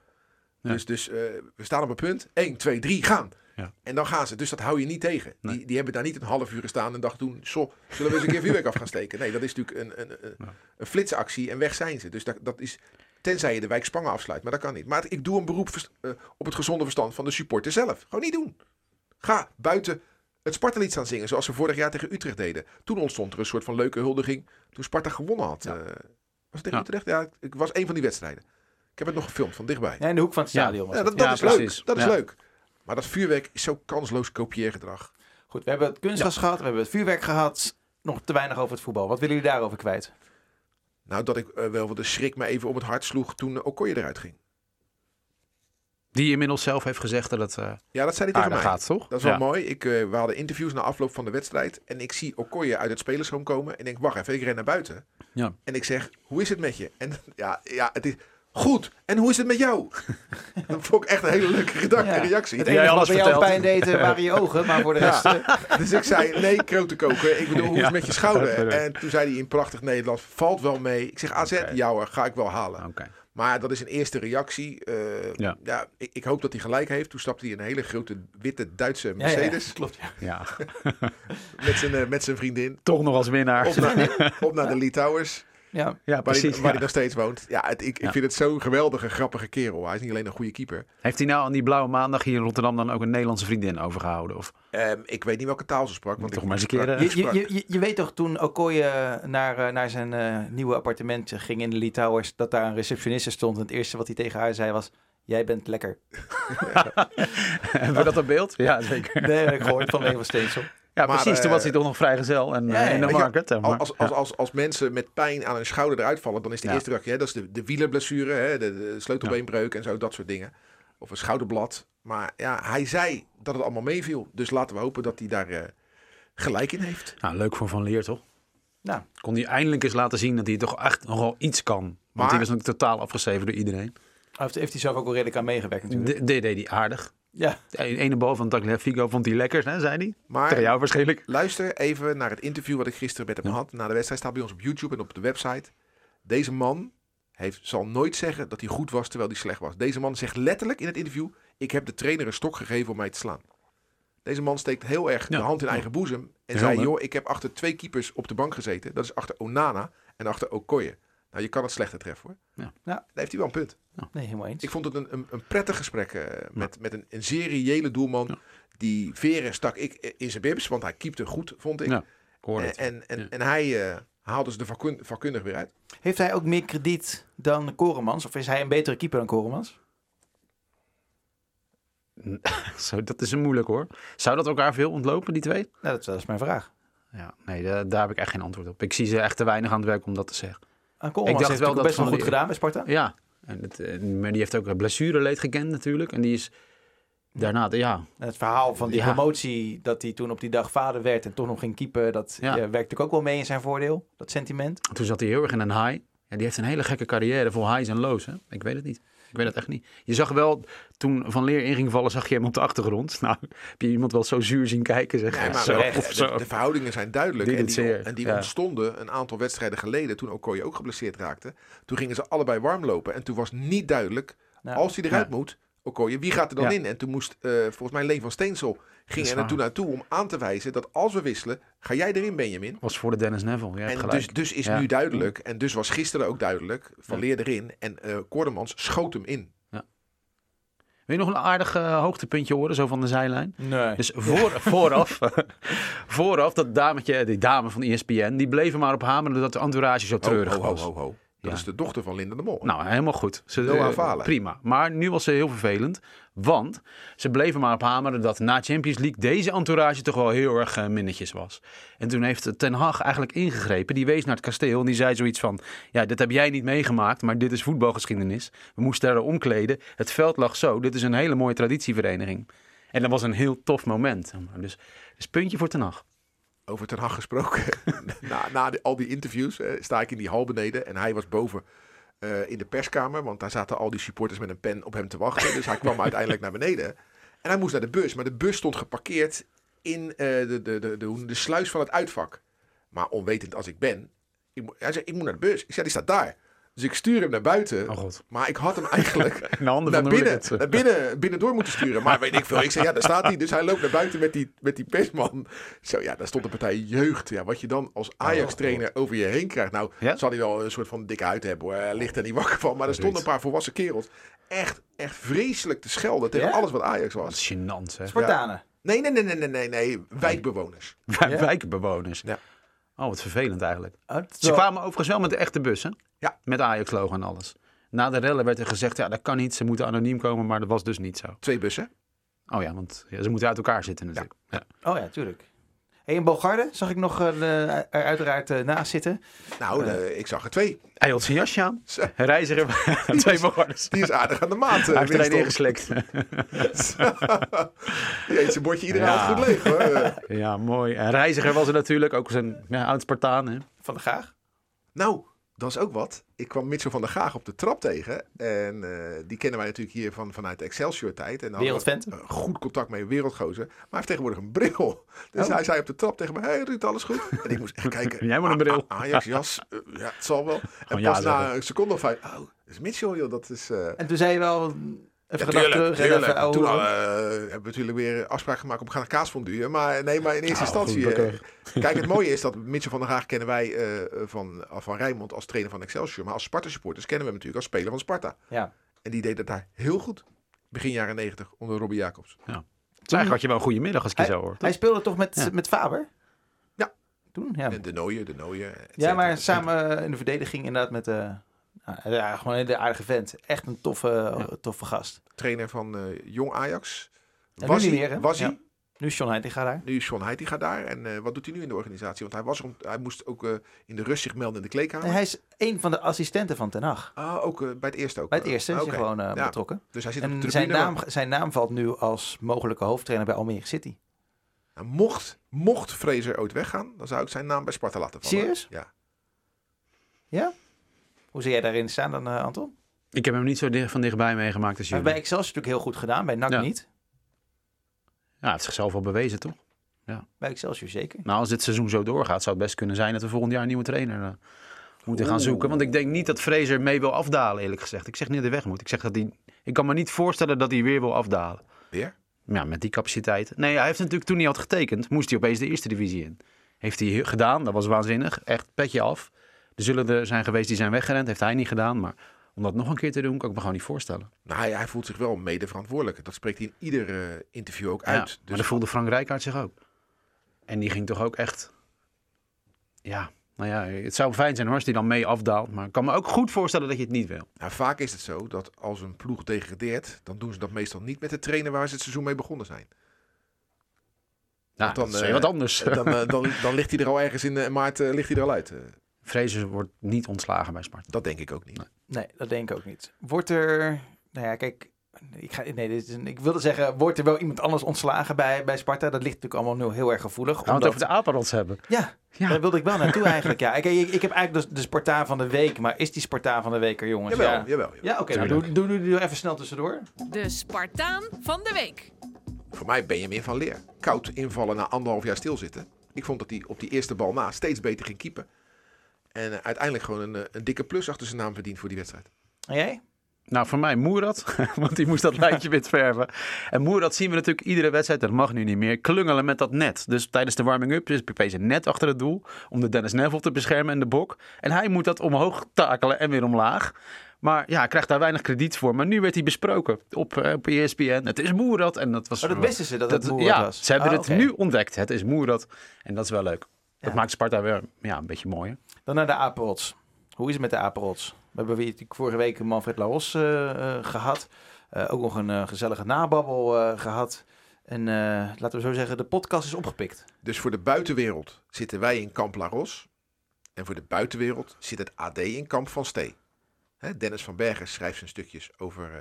S3: Ja.
S4: Dus, dus eh, we staan op een punt. 1, 2, 3, gaan.
S3: Ja.
S4: En dan gaan ze. Dus dat hou je niet tegen.
S3: Nee.
S4: Die, die hebben daar niet een half uur gestaan en dachten toen, zo, zullen we eens een keer vuurwerk af gaan steken? Nee, dat is natuurlijk een, een, een, een flitsactie en weg zijn ze. Dus dat, dat is, tenzij je de wijk Spangen afsluit, maar dat kan niet. Maar ik doe een beroep vers- eh, op het gezonde verstand van de supporter zelf. Gewoon niet doen. Ga buiten het Sparta-lied staan zingen, zoals ze vorig jaar tegen Utrecht deden. Toen ontstond er een soort van leuke huldiging toen Sparta gewonnen had. Eh, was het tegen
S3: Ja.
S4: Utrecht? Ja, ik was een van die wedstrijden. Ik heb het nog gefilmd van dichtbij.
S2: Ja, in de hoek van het
S3: Ja.
S2: stadion. was
S4: Ja,
S2: dat.
S4: dat, dat
S3: Ja,
S4: is
S3: precies.
S4: leuk. Dat is
S3: Ja.
S4: leuk. Maar dat vuurwerk is zo kansloos kopieergedrag.
S2: Goed, we hebben het kunstgas gehad, we hebben het vuurwerk gehad. Nog te weinig over het voetbal. Wat willen jullie daarover kwijt?
S4: Nou, dat ik eh, wel wat de schrik me even om het hart sloeg toen ook Okoye eruit ging.
S3: Die inmiddels zelf heeft gezegd dat het eh
S4: Ja, dat zei hij tegen
S3: aardig
S4: mij.
S3: gaat, toch?
S4: Dat is wel
S3: Ja.
S4: mooi. Ik, eh, we hadden interviews na afloop van de wedstrijd. En ik zie Okoye uit het spelersroom komen. En denk, wacht even, ik ren naar buiten.
S3: Ja.
S4: En ik zeg, hoe is het met je? En ja, ja het is goed. En hoe is het met jou? dat vond ik echt een hele leuke gedachte
S2: Ja.
S4: en reactie.
S2: Het
S3: jij
S2: enige wat
S3: alles
S2: bij jou pijn
S3: verteld.
S2: deed eh, waren je ogen, maar voor de rest... eh,
S4: Dus ik zei, nee, krote koken. Ik bedoel, hoe is het met je
S3: dat
S4: schouder?
S3: bedoel ik.
S4: En toen zei hij in prachtig Nederlands, valt wel mee. Ik zeg, AZ,
S3: Oké.
S4: jou jou hoor, ga ik wel halen.
S3: Oké.
S4: Maar dat is een eerste reactie. Eh,
S3: Ja.
S4: ja. ik, ik hoop dat hij gelijk heeft. Toen stapte hij in een hele grote witte Duitse
S2: ja, ja,
S4: Mercedes
S2: klopt. Ja.
S3: Ja.
S4: Met, zijn, eh, met zijn vriendin.
S3: Toch nog als winnaar.
S4: Op naar, op naar de Lee Towers,
S2: Ja.
S3: Ja,
S4: waar,
S3: precies.
S4: hij, waar
S3: ja.
S4: hij nog steeds woont. Ja, het- ik,
S3: Ja.
S4: ik vind het zo'n geweldige, grappige kerel. Hij is niet alleen een goede keeper.
S3: Heeft hij nou aan die blauwe maandag hier in Rotterdam dan ook een Nederlandse vriendin overgehouden? Of
S4: Ehm, ik weet niet welke taal ze sprak. Want
S3: Toch
S4: ik
S3: maar eens een
S4: sprak-
S3: keer,
S2: Je,
S3: eh,
S4: ik
S2: je,
S4: sprak-
S2: je- je, je weet toch toen Okoye naar, eh, naar zijn eh, nieuwe appartement ging in de Lee Towers... dat daar een receptioniste stond en het eerste wat hij tegen haar zei was... Jij bent lekker.
S3: hebben we dat op beeld? Ja, zeker.
S2: Nee, dat heb ik gehoord van Leo van Steensel.
S3: Ja,
S4: Maar,
S3: precies. Toen
S4: eh,
S3: was hij toch nog vrijgezel en eh,
S2: ja, ja,
S3: in de
S4: weet je,
S3: market. zeg maar.
S4: Als, als, als, als, als mensen met pijn aan hun schouder eruit vallen, dan is de
S3: Ja.
S4: eerste reactie, hè, dat is de, de wielerblessure, hè, de, de sleutelbeenbreuk en zo, dat soort dingen. Of een schouderblad. Maar ja, hij zei dat het allemaal meeviel. Dus laten we hopen dat hij daar eh, gelijk in heeft.
S3: Nou, leuk voor Van Leer, toch?
S2: Nou,
S3: Kon hij eindelijk eens laten zien dat hij toch echt nogal iets kan. Want
S4: Maar-
S3: hij was natuurlijk totaal afgeschreven door iedereen.
S2: heeft, heeft hij zelf ook wel redelijk aan meegewerkt natuurlijk.
S3: De, de deed hij aardig.
S2: Ja.
S3: De ene bal van Tagliafico vond hij lekker, hè, zei hij.
S4: Maar
S3: Tegen jou waarschijnlijk.
S4: luister even naar het interview wat ik gisteren met hem had. Na de wedstrijd staat bij ons op YouTube en op de website. Deze man heeft, zal nooit zeggen dat hij goed was terwijl hij slecht was. Deze man zegt letterlijk in het interview: Ik heb de trainer een stok gegeven om mij te slaan. Deze man steekt heel erg
S3: Ja.
S4: de hand in eigen boezem. En
S3: Ja,
S4: zei:
S3: maar-
S4: Joh, ik heb achter twee keepers op de bank gezeten. Dat is achter Onana en achter Okoye. Nou, je kan het slechter treffen hoor.
S3: Ja.
S2: Ja.
S4: Daar heeft hij wel een punt.
S2: Nee, helemaal eens.
S4: Ik vond het een, een, een prettig gesprek eh, met, met een, een seriële doelman. Die veren stak ik eh, in zijn bibs, want hij keepte goed, vond ik.
S3: Ja, Ik hoor
S4: en,
S3: het.
S4: en, en,
S3: Ja.
S4: en hij eh, haalde ze de vakun- vakkundig weer uit.
S2: Heeft hij ook meer krediet dan Koremans? Of is hij een betere keeper dan Koremans?
S3: Zo, dat is een moeilijk hoor. Zou dat elkaar veel ontlopen, die twee?
S2: Nou, dat, dat is mijn vraag.
S3: Ja, nee, da- daar heb ik echt geen antwoord op. Ik zie ze echt te weinig aan het werk om dat te zeggen.
S2: Aan
S3: Ik
S2: Koremans
S3: dacht
S2: heeft
S3: wel
S2: wel
S3: dat
S2: best wel
S3: Van
S2: goed
S3: Leer-
S2: gedaan bij Sparta.
S3: Ja, en het, eh, maar die heeft ook eh, blessureleed gekend natuurlijk. En die is daarna, ja,
S2: Het verhaal van die
S3: Ja.
S2: promotie, dat hij toen op die dag vader werd en toch nog ging keeper, dat
S3: Ja.
S2: eh, werkt natuurlijk ook wel mee in zijn voordeel, dat sentiment.
S3: toen zat hij heel erg in een high. Ja, die heeft een hele gekke carrière vol highs en lows. Hè? Ik weet het niet. Ik weet het echt niet. Je zag wel, toen Van Leer in ging vallen, zag je hem op de achtergrond. Nou, heb je iemand wel zo zuur zien kijken? Zeg,
S4: Nee, maar
S3: zo,
S4: wel,
S3: of
S4: de-
S3: zo.
S4: de, verhoudingen zijn duidelijk.
S3: Die
S4: en
S3: doet
S4: die,
S3: zeer,
S4: en die
S3: ja.
S4: ontstonden een aantal wedstrijden geleden, toen Okoye ook geblesseerd raakte. Toen gingen ze allebei warm lopen. En toen was niet duidelijk,
S2: Nou,
S4: als hij eruit
S3: ja.
S4: moet, Okoye, wie gaat er dan
S3: Ja.
S4: in? En toen moest, eh, volgens mij, Leen van Steensel ging
S3: is
S4: er
S3: waar.
S4: naartoe naartoe om aan te wijzen dat als we wisselen, ga jij erin, Benjamin.
S3: was voor de Dennis Neville. Ja,
S4: En
S3: gelijk.
S4: dus, dus is
S3: Ja.
S4: nu duidelijk, en dus was gisteren ook duidelijk, van
S3: Ja.
S4: Leer erin en eh Koordemans schoot hem in.
S3: Wil je nog een aardig eh, hoogtepuntje horen, zo van de zijlijn?
S2: Nee.
S3: Dus voor, vooraf, vooraf, dat dametje, die dame van E ESPN, die bleven maar op hameren dat de entourage zo treurig
S4: ho, ho,
S3: was.
S4: ho, ho. Dat
S3: Ja.
S4: is de dochter van Linda de Mol.
S3: Nou, helemaal goed. Ze,
S4: Noah
S3: eh,
S4: Valen.
S3: prima. Maar nu was ze heel vervelend, want ze bleven maar op hameren dat na Champions League deze entourage toch wel heel erg eh, minnetjes was. En toen heeft eh, Ten Hag eigenlijk ingegrepen. Die wees naar het kasteel en die zei zoiets van, ja, dit heb jij niet meegemaakt, maar dit is voetbalgeschiedenis. We moesten daar omkleden. Het veld lag zo. Dit is een hele mooie traditievereniging. En dat was een heel tof moment. zeg maar. Dus, dus puntje voor Ten Hag.
S4: Over Ten Hag gesproken. na na de- al die interviews eh, sta ik in die hal beneden. En hij was boven eh, in de perskamer. Want daar zaten al die supporters met een pen op hem te wachten. Dus hij kwam uiteindelijk naar beneden. En hij moest naar de bus. Maar de bus stond geparkeerd in eh, de, de, de, de, hoe- de sluis van het uitvak. Maar onwetend als ik ben. Ik, mo- hij zei, ik moet naar de bus. Ik zei, die staat daar. Dus ik stuur hem naar buiten.
S3: Oh god.
S4: Maar ik had hem eigenlijk
S3: In de handen
S4: naar
S3: van de
S4: binnen,
S3: hooligans.
S4: naar binnen, binnendoor moeten sturen. Maar weet ik veel. Ik zei, ja, daar staat hij. Dus hij loopt naar buiten met die, met die persman. Zo, ja, daar stond de partij jeugd. Ja, wat je dan als Ajax-trainer over je heen krijgt. Nou,
S3: Oh, Ja?
S4: zal hij wel een soort van dikke huid hebben hoor. Hij ligt er niet wakker van. Maar er stonden een paar volwassen kerels. Echt, echt vreselijk te schelden tegen
S2: Ja?
S4: alles wat Ajax
S3: Wat
S4: was.
S3: gênant, hè?
S2: Spartanen.
S4: Nee, nee, nee, nee, nee, nee, nee. Wijkbewoners.
S3: Wij- Wijkbewoners.
S4: Ja.
S3: Oh, wat vervelend eigenlijk.
S2: Oh, dat is
S3: Ze
S2: wel-
S3: kwamen overigens wel met de echte bus, hè?
S4: Ja.
S3: Met Ajax-logo en alles. Na de rellen werd er gezegd, ja, dat kan niet. Ze moeten anoniem komen, maar dat was dus niet zo.
S4: Twee bussen.
S3: Oh ja, want ja, ze moeten uit elkaar zitten natuurlijk. Ja.
S2: Oh ja, tuurlijk. Hey, in Bogarde zag ik nog eh, de- er uiteraard eh, naast zitten.
S4: Nou, eh, ik zag er twee.
S3: Hij hield zijn jasje aan.
S4: Zo.
S3: Reiziger, twee bewoners.
S4: Die is aardig aan de maat. eh,
S3: Hij heeft er een
S4: Winston.
S3: ingeslikt.
S4: Die eet zijn bordje iedere
S3: Ja.
S4: avond goed leeg. Hoor. Eh,
S3: ja, mooi. En Reiziger was er natuurlijk, ook zo'n ja, oud Spartaan. Hè?
S2: Van de Graag.
S4: Nou, dat is ook wat. Ik kwam Mitchell van der Gaag op de trap tegen. En eh, die kennen wij natuurlijk hier van, vanuit de Excelsior-tijd. En dan hadden we
S2: Wereldvent.
S4: een goed contact mee, wereldgozer. Maar hij heeft tegenwoordig een bril. Dus hij zei op de trap tegen me, hey Ruud, alles goed? En ik moest echt kijken.
S3: Oh. Jij moet een bril.
S4: Ah, Ajax, jas, eh, ja, het zal wel. En
S3: ja
S4: pas na
S3: zeggen.
S4: een seconde of vijf, oh, dat is Mitchell joh, dat is... eh,
S2: En toen zei je wel even
S4: ja,
S2: gedacht terug. en
S4: tuurlijk.
S2: even, ouwe
S4: Toen
S2: hoeren.
S4: eh, hebben we natuurlijk weer afspraak gemaakt om we gaan een kaasfonduren. Maar nee, maar in eerste instantie.
S3: goed,
S4: eh, kijk, het mooie is dat Mitchell van der Haag kennen wij eh, van, van Rijnmond als trainer van Excelsior. Maar als Sparta supporters kennen we hem natuurlijk als speler van Sparta.
S2: ja.
S4: En die deed dat daar heel goed. Begin jaren 90 onder Robbie Jacobs.
S3: Dus eigenlijk had je wel een goede middag als ik je zo hoor.
S2: Hij speelde toch met,
S3: Ja.
S2: met Faber?
S4: Ja.
S2: Toen? Ja.
S4: En de Nooijen, de Nooijen. et
S2: Ja,
S4: cetera, et
S2: maar
S4: cetera.
S2: samen eh, in de verdediging inderdaad met... eh, nou, ja, gewoon een hele aardige vent. Echt een toffe, toffe gast.
S4: Trainer van eh, Jong Ajax.
S2: Ja,
S4: was
S2: nu
S4: hij,
S2: niet meer, hè?
S4: was
S2: Ja.
S4: hij.
S2: Nu is John Heitinga daar.
S4: Nu is John Heitinga gaat daar. En eh, wat doet hij nu in de organisatie? Want hij, was, er om- hij moest ook eh, in de rust zich melden in de kleedkamer.
S2: En hij is een van de assistenten van Ten Hag.
S4: Ah, ook eh, bij het eerste ook.
S2: Bij het eerste is
S4: Oké.
S2: hij gewoon eh,
S4: Ja.
S2: betrokken.
S4: Dus hij zit op de
S2: En zijn
S4: tribune.
S2: naam, zijn naam valt nu als mogelijke hoofdtrainer bij Almere City.
S4: Nou, mocht, mocht Fraser ooit weggaan, dan zou ik zijn naam bij Sparta laten vallen.
S2: Serieus?
S4: Ja.
S2: Hoe zie jij daarin staan dan, eh, Anton? Hij
S3: Ik heb hem niet zo dicht, van dichtbij meegemaakt als
S2: heeft
S3: jullie.
S2: bij Excelsior natuurlijk heel goed gedaan, bij NAC
S3: Ja.
S2: niet.
S3: Ja, het is zichzelf wel bewezen, toch?
S2: Bij Excelsior zeker.
S3: Nou, als dit seizoen zo doorgaat, zou het best kunnen zijn dat we volgend jaar een nieuwe trainer eh, moeten gaan zoeken. Want ik denk niet dat Fraser mee wil afdalen, eerlijk gezegd. Ik zeg niet dat hij weg moet. Ik zeg dat hij... Ik kan me niet voorstellen dat hij weer wil afdalen.
S4: Weer?
S3: Ja, met die capaciteit. Nee, hij heeft natuurlijk toen hij had getekend, moest hij opeens de eerste divisie in. Heeft hij he- gedaan, dat was waanzinnig. Echt petje af. Er zullen er zijn geweest die zijn weggerend, heeft hij niet gedaan. Maar om dat nog een keer te doen, kan ik me gewoon niet voorstellen.
S4: Nou, hij, hij voelt zich wel mede verantwoordelijk. Dat spreekt hij in ieder eh, interview ook
S3: Ja,
S4: uit.
S3: Maar
S4: Dus
S3: dat voelde Frank Rijkaard zich ook. En die ging toch ook echt... Ja, nou ja, het zou fijn zijn hoor, als die dan mee afdaalt. Maar ik kan me ook goed voorstellen dat je het niet wil.
S4: nou, vaak is het zo dat als een ploeg degradeert, dan doen ze dat meestal niet met de trainer waar ze het seizoen mee begonnen zijn.
S3: Nou,
S4: dan,
S3: dan, dat is
S4: eh,
S3: wat anders.
S4: Dan, eh, dan, dan ligt hij er al ergens in eh, maart eh, ligt hij er al uit. Eh,
S3: Fraser wordt niet ontslagen bij Sparta.
S4: dat denk ik ook niet.
S2: Nee, dat denk ik ook niet. Wordt er... Nou ja, kijk... Ik, ga, nee, dit is een- ik wilde zeggen, wordt er wel iemand anders ontslagen bij, bij Sparta? Dat ligt natuurlijk allemaal nu heel erg gevoelig.
S3: Gaan we het over de Aparots hebben?
S2: Ja,
S3: Ja.
S2: daar wilde ik wel naartoe eigenlijk. Ja. Ik, ik, ik heb eigenlijk de, de Spartaan van de week. Maar is die Spartaan van de week er, jongens?
S4: Jawel,
S2: ja,
S4: jawel, jawel.
S2: ja oké. nou, doe, doe, doe, doe even snel tussendoor.
S1: De Spartaan van de week.
S4: Voor mij Benjamin van Leer. Koud invallen na anderhalf jaar stilzitten. Ik vond dat hij op die eerste bal na steeds beter ging keepen. En eh, uiteindelijk gewoon een, eh, een dikke plus achter zijn naam verdiend voor die wedstrijd.
S2: En jij?
S3: Nou, voor mij Moerad, want die moest dat lijntje wit verven. En Moerad zien we natuurlijk iedere wedstrijd, dat mag nu niet meer, klungelen met dat net. Dus tijdens de warming-up is Pepe's een net achter het doel om de Dennis Neville te beschermen en de bok. En hij moet dat omhoog takelen en weer omlaag. Maar ja, hij krijgt daar weinig krediet voor. Maar nu werd hij besproken op, eh, op ESPN. Het is Moerad. En dat was...
S2: Oh, dat wisten ze dat het Moerad
S3: ja,
S2: was.
S3: ze hebben
S2: Ah,
S3: het
S2: oké.
S3: nu ontdekt. Het is Moerad. En dat is wel leuk. Dat
S2: Ja.
S3: maakt Sparta weer ja, een beetje mooier.
S2: Dan naar de apenrots. Hoe is het met de apenrots? We hebben weer natuurlijk vorige week Manfred Laos eh, eh, gehad. Eh, ook nog een eh, gezellige nababbel eh, gehad. En eh, laten we zo zeggen, de podcast is opgepikt.
S4: Dus voor de buitenwereld zitten wij in Kamp La Ros. En voor de buitenwereld zit het AD in Kamp van Stee. Hè, Dennis van Bergen schrijft zijn stukjes over eh,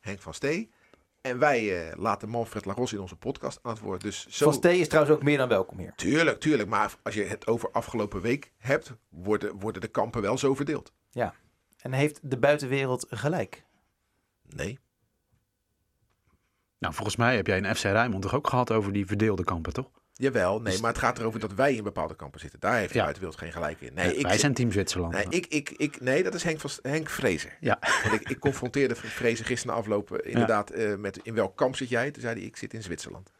S4: Henk van Stee. En wij eh, laten Manfred Laros in onze podcast aan het woord. Dus zo...
S2: Van Stee is trouwens ook meer dan welkom hier.
S4: Tuurlijk, tuurlijk. Maar als je het over afgelopen week hebt, worden, worden de kampen wel zo verdeeld.
S2: Ja. En heeft de buitenwereld gelijk?
S4: Nee.
S3: Nou, volgens mij heb jij in FC Rijnmond toch ook gehad over die verdeelde kampen, toch?
S4: Jawel, nee. Maar het gaat erover dat wij in bepaalde kampen zitten. Daar heeft de
S3: Dus Ja.
S4: buitenwereld geen gelijk in. Nee,
S3: Ja,
S4: ik,
S3: Eh, Wij zijn Team Zwitserland.
S4: nee, ik, ik, ik, nee dat is Henk, van, Henk Vrezer.
S3: Ja,
S4: Want ik, ik confronteerde Vrezer gisteren na aflopen inderdaad eh, met in welk kamp zit jij? Toen zei hij, ik zit in Zwitserland.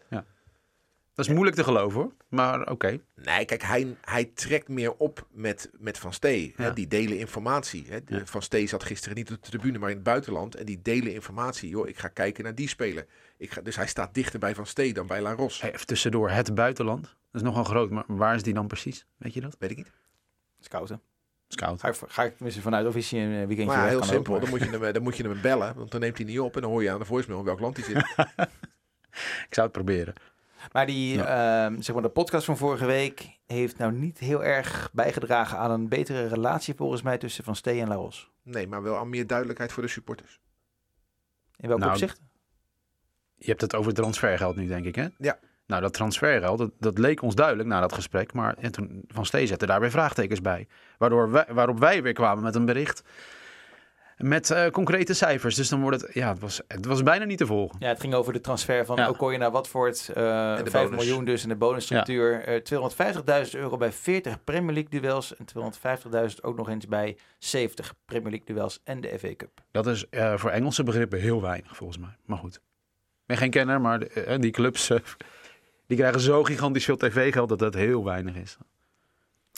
S3: dat is moeilijk te geloven hoor. Maar oké.
S4: Nee, kijk, hij, hij trekt meer op met, met Van Stee. Hè,
S3: Ja.
S4: die delen informatie. Hè. De-
S3: Ja.
S4: Van Stee zat gisteren niet op de tribune, maar in het buitenland. En die delen informatie. Joh, ik ga kijken naar die speler. Ik ga, dus hij staat dichter bij Van Stee dan bij La Ros.
S3: Hey, even tussendoor, het buitenland. Dat is nogal groot, maar waar is die dan precies? Weet je dat?
S4: Weet ik niet.
S2: Scouten.
S3: Scout.
S2: Ga ik, ga ik tenminste vanuit of is hij een eh, weekendje
S4: Maar ja,
S2: weg,
S4: heel
S2: kan
S4: simpel.
S2: ook,
S4: Dan
S2: maar-
S4: moet, je hem, eh, dan moet je hem bellen, want dan neemt hij niet op. En dan hoor je aan de voicemail in welk land hij zit.
S3: Ik zou het proberen.
S2: Maar die, ehm, zeg maar, de podcast van vorige week heeft nou niet heel erg bijgedragen aan een betere relatie volgens mij tussen Van Stee en Laros.
S4: Nee, maar wel aan meer duidelijkheid voor de supporters.
S2: In welk
S3: Nou,
S2: opzicht?
S3: Je hebt het over transfergeld nu, denk ik, hè?
S4: Ja.
S3: Nou, dat transfergeld, dat, dat leek ons duidelijk na dat gesprek. Maar en toen Van Stee zette daar weer vraagtekens bij. Waardoor wij, waarop wij weer kwamen met een bericht. Met eh, concrete cijfers. Dus dan wordt het... Ja, het was, het was bijna niet te volgen.
S2: Ja, het ging over de transfer van
S3: Ja.
S2: Okoye naar Watford. eh,
S4: En de
S2: 5
S4: bonus.
S2: miljoen dus en de bonusstructuur. Eh 250.000 euro bij 40 Premier League duels. En 250.000 ook nog eens bij 70 Premier League duels en de FA Cup.
S3: Dat is eh, voor Engelse begrippen heel weinig, volgens mij. Maar goed. Ik ben geen kenner, maar de- eh, die clubs... eh, die krijgen zo gigantisch veel tv-geld dat dat heel weinig is.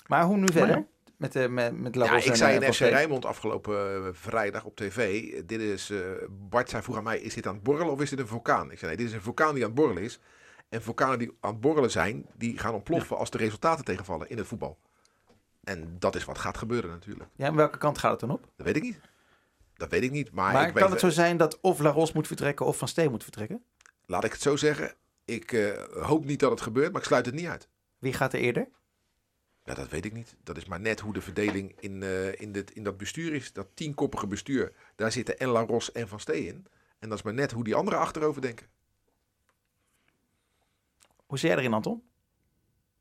S2: Maar hoe nu verder?
S3: ja.
S2: Met, eh met, met La
S4: Ja,
S2: Rosse
S4: ik
S2: en,
S4: zei
S2: eh,
S4: in
S2: Van
S4: FC
S2: Stee.
S4: Rijnmond afgelopen eh, vrijdag op tv. eh, Dit is, eh, Bart zei vroeg aan mij, is dit aan het borrelen of is dit een vulkaan? Ik zei, nee, dit is een vulkaan die aan het borrelen is. En vulkanen die aan het borrelen zijn, die gaan ontploffen als de resultaten tegenvallen in het voetbal. En dat is wat gaat gebeuren natuurlijk.
S2: Ja, maar welke kant gaat het dan
S3: Ah,
S2: op?
S4: Dat weet ik niet. Dat weet ik niet. Maar,
S2: maar
S4: ik
S2: kan
S4: weet,
S2: het zo zijn dat of Laros moet vertrekken of Van Stee moet vertrekken?
S4: laat ik het zo zeggen. Ik eh, hoop niet dat het gebeurt, maar ik sluit het niet uit.
S2: Wie gaat er eerder?
S4: Ja, dat weet ik niet. Dat is maar net hoe de verdeling in, eh, in, dit, in dat bestuur is. Dat tienkoppige bestuur. Daar zitten en La Ros en Van Steen in. En dat is maar net hoe die anderen achterover denken.
S2: Hoe zie jij erin, Anton?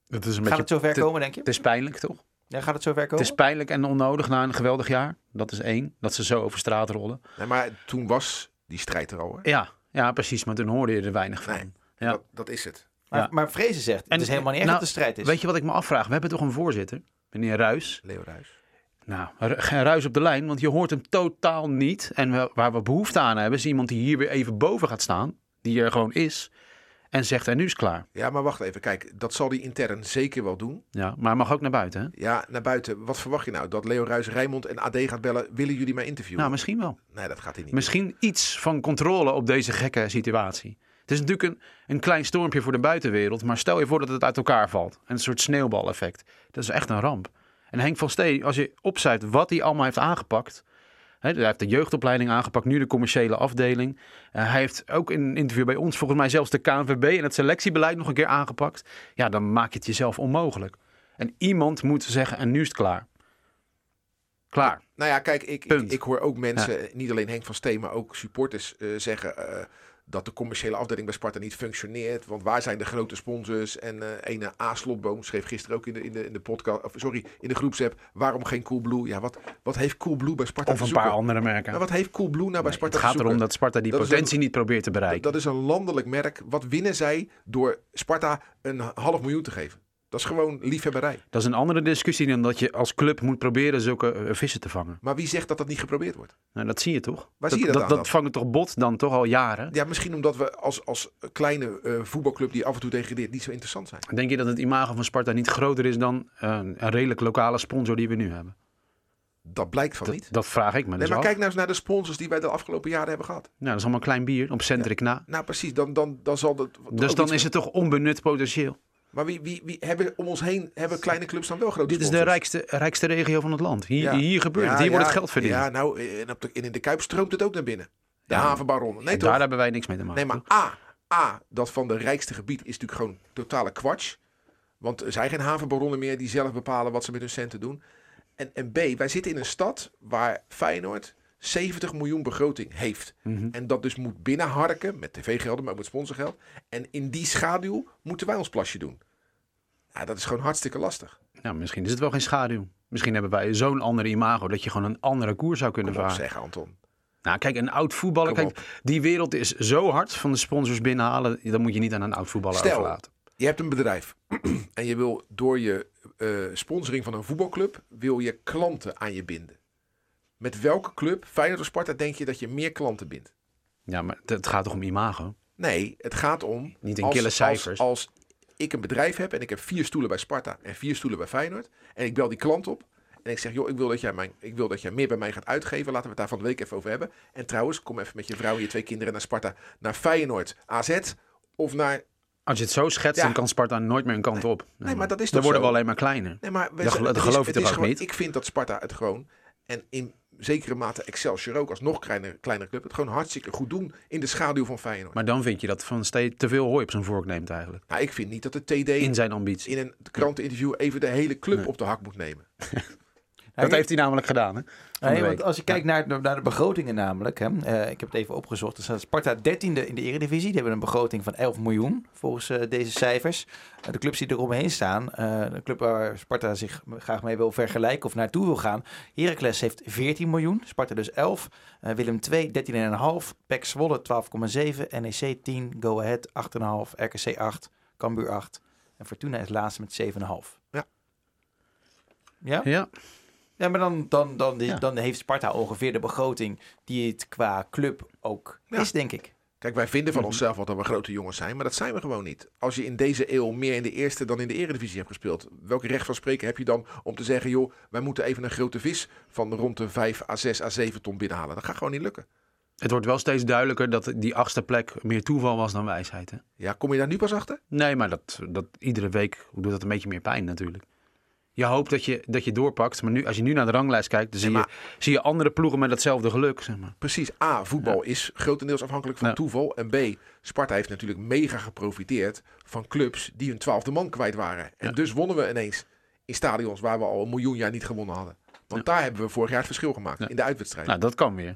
S3: Dat is een Oh.
S2: Gaat het zover
S3: te-
S2: komen, denk je?
S3: Het is pijnlijk, toch?
S2: Ja, gaat het zover
S3: Het
S2: komen?
S3: is pijnlijk en onnodig na een geweldig jaar. Dat is één. Dat ze zo over straat rollen.
S4: Nee, maar toen was die strijd er al. Hè?
S3: Ja, ja precies. Maar toen hoorde je er weinig van.
S4: Nee.
S3: Ja.
S4: Dat, dat is het.
S2: Maar,
S3: Ja.
S2: maar Vrezen zegt, het
S3: En-
S2: is helemaal niet echt
S3: nou,
S2: dat de strijd is.
S3: Weet je wat ik me afvraag? We hebben toch een voorzitter? Meneer Ruis.
S4: Leo Ruijs.
S3: Nou, ru- geen Ruis op de lijn, want je hoort hem totaal niet. En we- waar we behoefte aan hebben, is iemand die hier weer even boven gaat staan. Die er gewoon is. En zegt, en nu is het klaar.
S4: Ja, maar wacht even. Kijk, dat zal die intern zeker wel doen.
S3: Ja, maar hij mag ook naar buiten, hè?
S4: Ja, naar buiten. Wat verwacht je nou? Dat Leo Ruijs, Rijmond en AD gaat bellen. Willen jullie mij interviewen?
S3: Nou, misschien wel.
S4: Nee, dat gaat hij niet.
S3: Misschien iets van controle op deze gekke situatie. Het is natuurlijk een, een klein stormpje voor de buitenwereld, maar stel je voor dat het uit elkaar valt. Een soort sneeuwbaleffect. Dat is echt een ramp. En Henk van Stee, als je opzuipt wat hij allemaal heeft aangepakt. Hè, hij heeft de jeugdopleiding aangepakt, nu de commerciële afdeling. Eh, hij heeft ook in een interview bij ons, volgens mij zelfs de KNVB en het selectiebeleid nog een keer aangepakt. Ja, dan maak je het jezelf onmogelijk. En iemand moet zeggen, en nu is het klaar. Klaar.
S4: Nou ja, kijk, ik, ik,
S3: Punt.
S4: ik hoor ook mensen, niet alleen Henk van Steen, maar ook supporters eh, zeggen eh, dat de commerciële afdeling bij Sparta niet functioneert. Want waar zijn de grote sponsors? En eh ene A. Slotboom schreef gisteren ook in de, in de, in de podcast, of sorry, in de groepsapp, waarom geen Coolblue? Ja, wat, wat heeft Coolblue bij Sparta
S3: Of
S4: te
S3: een
S4: zoeken?
S3: paar andere merken.
S4: Nou, wat heeft Coolblue nou bij Sparta
S3: Het
S4: te
S3: gaat
S4: zoeken?
S3: erom dat Sparta die
S4: Dat is
S3: potentie niet probeert te bereiken.
S4: Dat is een landelijk merk. Wat winnen zij door Sparta een half miljoen te geven? Dat is gewoon liefhebberij.
S3: Dat is een andere discussie dan dat je als club moet proberen zulke eh, vissen te vangen.
S4: Maar wie zegt dat dat niet geprobeerd wordt?
S3: Nou, dat zie je toch?
S4: Waar zie je dat
S3: dat,
S4: aan
S3: dat
S4: dan?
S3: vangen toch bot dan toch al jaren?
S4: Ja, misschien omdat we als, als kleine eh, voetbalclub die af en toe degradeert niet zo interessant zijn.
S3: Denk je dat het imago van Sparta niet groter is dan eh, een redelijk lokale sponsor die we nu hebben?
S4: Dat blijkt van
S3: Dat,
S4: niet.
S3: dat vraag ik me
S4: Nee,
S3: dus
S4: maar
S3: af.
S4: kijk nou eens naar de sponsors die wij de afgelopen jaren hebben gehad.
S3: Nou, dat is allemaal klein bier op Centric na.
S4: Nou, precies. Dan, dan, dan zal dat.
S3: Dus
S4: ook
S3: dan
S4: iets-
S3: is het toch onbenut potentieel.
S4: Maar wie, wie, wie hebben om ons heen hebben kleine clubs dan wel grote
S3: Dit is de
S4: sponsors?
S3: rijkste, rijkste regio van het land. Hier,
S4: Ja.
S3: hier gebeurt
S4: Ja,
S3: het. Hier wordt
S4: ja,
S3: het geld verdiend.
S4: Ja, nou, en, op de, en in de Kuip stroomt het ook naar binnen. De
S3: Ja.
S4: havenbaronnen. Nee,
S3: En
S4: toch?
S3: daar hebben wij niks mee te maken.
S4: Nee, maar
S3: toch?
S4: A, A, dat van de rijkste gebied is natuurlijk gewoon totale kwatsch. Want er zijn geen havenbaronnen meer die zelf bepalen wat ze met hun centen doen. En, en B, wij zitten in een stad waar Feyenoord, 70 miljoen begroting heeft. En dat dus moet binnenharken met tv-gelden, maar ook met sponsorgeld. En in die schaduw moeten wij ons plasje doen. Ja, dat is gewoon hartstikke lastig.
S3: Nou, misschien is het wel geen schaduw. Misschien hebben wij zo'n andere imago dat je gewoon een andere koers zou kunnen
S4: Kom op,
S3: varen.
S4: zeg Anton.
S3: Nou, kijk, een oud voetballer.
S4: Kom
S3: Kijk, die wereld is zo hard van de sponsors binnenhalen. Dat moet je niet aan een oud voetballer
S4: Stel.
S3: overlaten.
S4: Je hebt een bedrijf en je wil door je eh, sponsoring van een voetbalclub wil je klanten aan je binden. Met welke club, Feyenoord of Sparta, denk je dat je meer klanten bindt?
S3: Ja, maar het- het gaat toch om imago?
S4: Nee, het gaat om.
S3: Niet in kille cijfers.
S4: Als, als ik een bedrijf heb en ik heb vier stoelen bij Sparta en vier stoelen bij Feyenoord. En ik bel die klant op. En ik zeg, joh, ik wil, dat jij mijn, ik wil dat jij meer bij mij gaat uitgeven. Laten we het daar van de week even over hebben. En trouwens, kom even met je vrouw en je twee kinderen naar Sparta. Naar Feyenoord, AZ of naar...
S3: Als je het zo schetst,
S4: Ja.
S3: dan kan Sparta nooit meer een kant op. Nee,
S4: maar dat is
S3: Dan
S4: toch
S3: worden we
S4: zo?
S3: alleen maar kleiner.
S4: Nee, maar we
S3: Dat
S4: zijn-
S3: gelo- dat
S4: het is-
S3: geloof je
S4: het
S3: toch
S4: is
S3: ook
S4: gewoon-
S3: niet?
S4: Ik vind dat Sparta het gewoon... En in zekere mate Excelsior ook als nog kleiner, kleinere club. Het gewoon hartstikke goed doen in de schaduw van Feyenoord.
S3: Maar dan vind je dat Van Steen te veel hooi op zijn vork neemt eigenlijk.
S4: nou, ik vind niet dat de TD...
S3: In zijn ambitie.
S4: in een kranteninterview even de hele club op de hak moet nemen.
S2: Nou,
S3: Dat heeft hij namelijk gedaan, hè? Van de
S2: Nee, want
S3: week.
S2: als je kijkt naar, de- naar de begrotingen namelijk, hè, eh, ik heb het even opgezocht, dus Sparta 13e in de Eredivisie. Die hebben een begroting van 11 miljoen volgens eh, deze cijfers. Eh, de clubs die eromheen staan, eh, de club waar Sparta zich m- graag mee wil vergelijken of naartoe wil gaan. Heracles heeft 14 miljoen, Sparta dus 11, eh, Willem 2 13,5, PEC Zwolle 12,7, NEC 10, E Go Ahead 8,5, RKC 8, Cambuur 8 en Fortuna is laatste met 7,5.
S4: Ja.
S2: Ja?
S3: Ja,
S2: Ja, maar dan, dan, dan, die-
S3: Ja.
S2: dan heeft Sparta ongeveer de begroting die het qua club ook
S4: Ja.
S2: is, denk ik.
S4: Kijk, wij vinden van
S3: Mhm.
S4: onszelf wel dat we grote jongens zijn, maar dat zijn we gewoon niet. Als je in deze eeuw meer in de eerste dan in de eredivisie hebt gespeeld, welk recht van spreken heb je dan om te zeggen, joh, wij moeten even een grote vis van rond de 5 à 6 à 7 ton binnenhalen? Dat gaat gewoon niet lukken.
S3: het wordt wel steeds duidelijker dat die achtste plek meer toeval was dan wijsheid, hè?
S4: Ja, kom je daar nu pas achter?
S3: Nee, maar dat, dat, iedere week doet dat een beetje meer pijn natuurlijk. Je hoopt dat je, dat je doorpakt, maar nu, als je nu naar de ranglijst kijkt, dan zie,
S4: Nee,
S3: je, zie je andere ploegen met datzelfde geluk. Zeg maar.
S4: Precies. A, voetbal is grotendeels afhankelijk van
S3: Ja.
S4: toeval. En B, Sparta heeft natuurlijk mega geprofiteerd van clubs die hun twaalfde man kwijt waren. En dus wonnen we ineens in stadions waar we al een miljoen jaar niet gewonnen hadden. Want daar hebben we vorig jaar het verschil gemaakt
S3: Ja.
S4: in de uitwedstrijd.
S3: Nou, dat kan weer.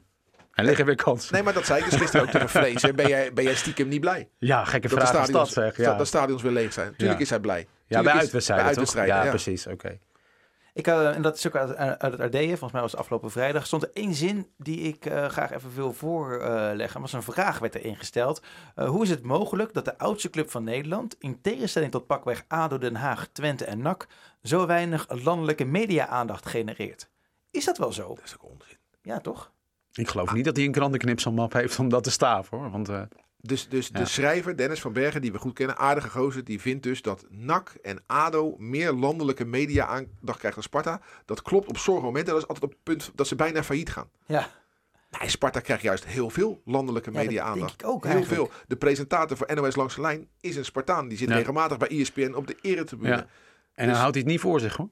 S3: Er liggen weer kansen.
S4: Nee, maar dat zei ik dus gisteren ook tegen Vrees. hè. Ben jij, ben jij stiekem niet blij?
S3: ja, gekke
S4: Dat
S3: vraag is dat,
S4: stadions,
S3: zeg.
S4: dat
S3: Ja,
S4: de stadions weer leeg zijn. Tuurlijk
S3: Ja.
S4: is hij blij.
S3: ja
S4: Tuurlijk
S3: bij
S4: is-
S3: uitwedstrijden,
S4: bij
S3: toch?
S4: uitwedstrijden,
S3: ja,
S4: ja.
S3: precies. Oké.
S2: Ik, had- en dat is ook uit, uit het AD, hè, volgens mij was het afgelopen vrijdag, stond er één zin die ik eh, graag even wil voorleggen. was een vraag werd er ingesteld. Eh, hoe is het mogelijk dat de oudste club van Nederland, in tegenstelling tot pakweg ADO Den Haag, Twente en NAC, zo weinig landelijke media-aandacht genereert? Is dat wel zo?
S4: Dat is ook onzin.
S2: Ja, toch?
S3: Ik geloof niet dat hij een krantenknipselmap heeft om dat te staven, hoor. Want eh,
S4: Dus, dus
S3: Ja.
S4: de schrijver Dennis van Bergen, die we goed kennen, aardige gozer, die vindt dus dat NAC en ADO meer landelijke media-aandacht krijgt dan Sparta. Dat klopt op sommige momenten. Dat is altijd op het punt dat ze bijna failliet gaan.
S2: Ja.
S4: Nee, Sparta krijgt juist heel veel landelijke
S2: Ja, dat
S4: media-aandacht.
S2: denk ik ook
S4: Heel
S2: eigenlijk.
S4: veel. De presentator voor NOS Langs de Lijn is een Spartaan. Die zit
S3: Ja.
S4: regelmatig bij E ESPN op de eretribune.
S3: Ja. en dan houdt hij het niet voor zich, hoor.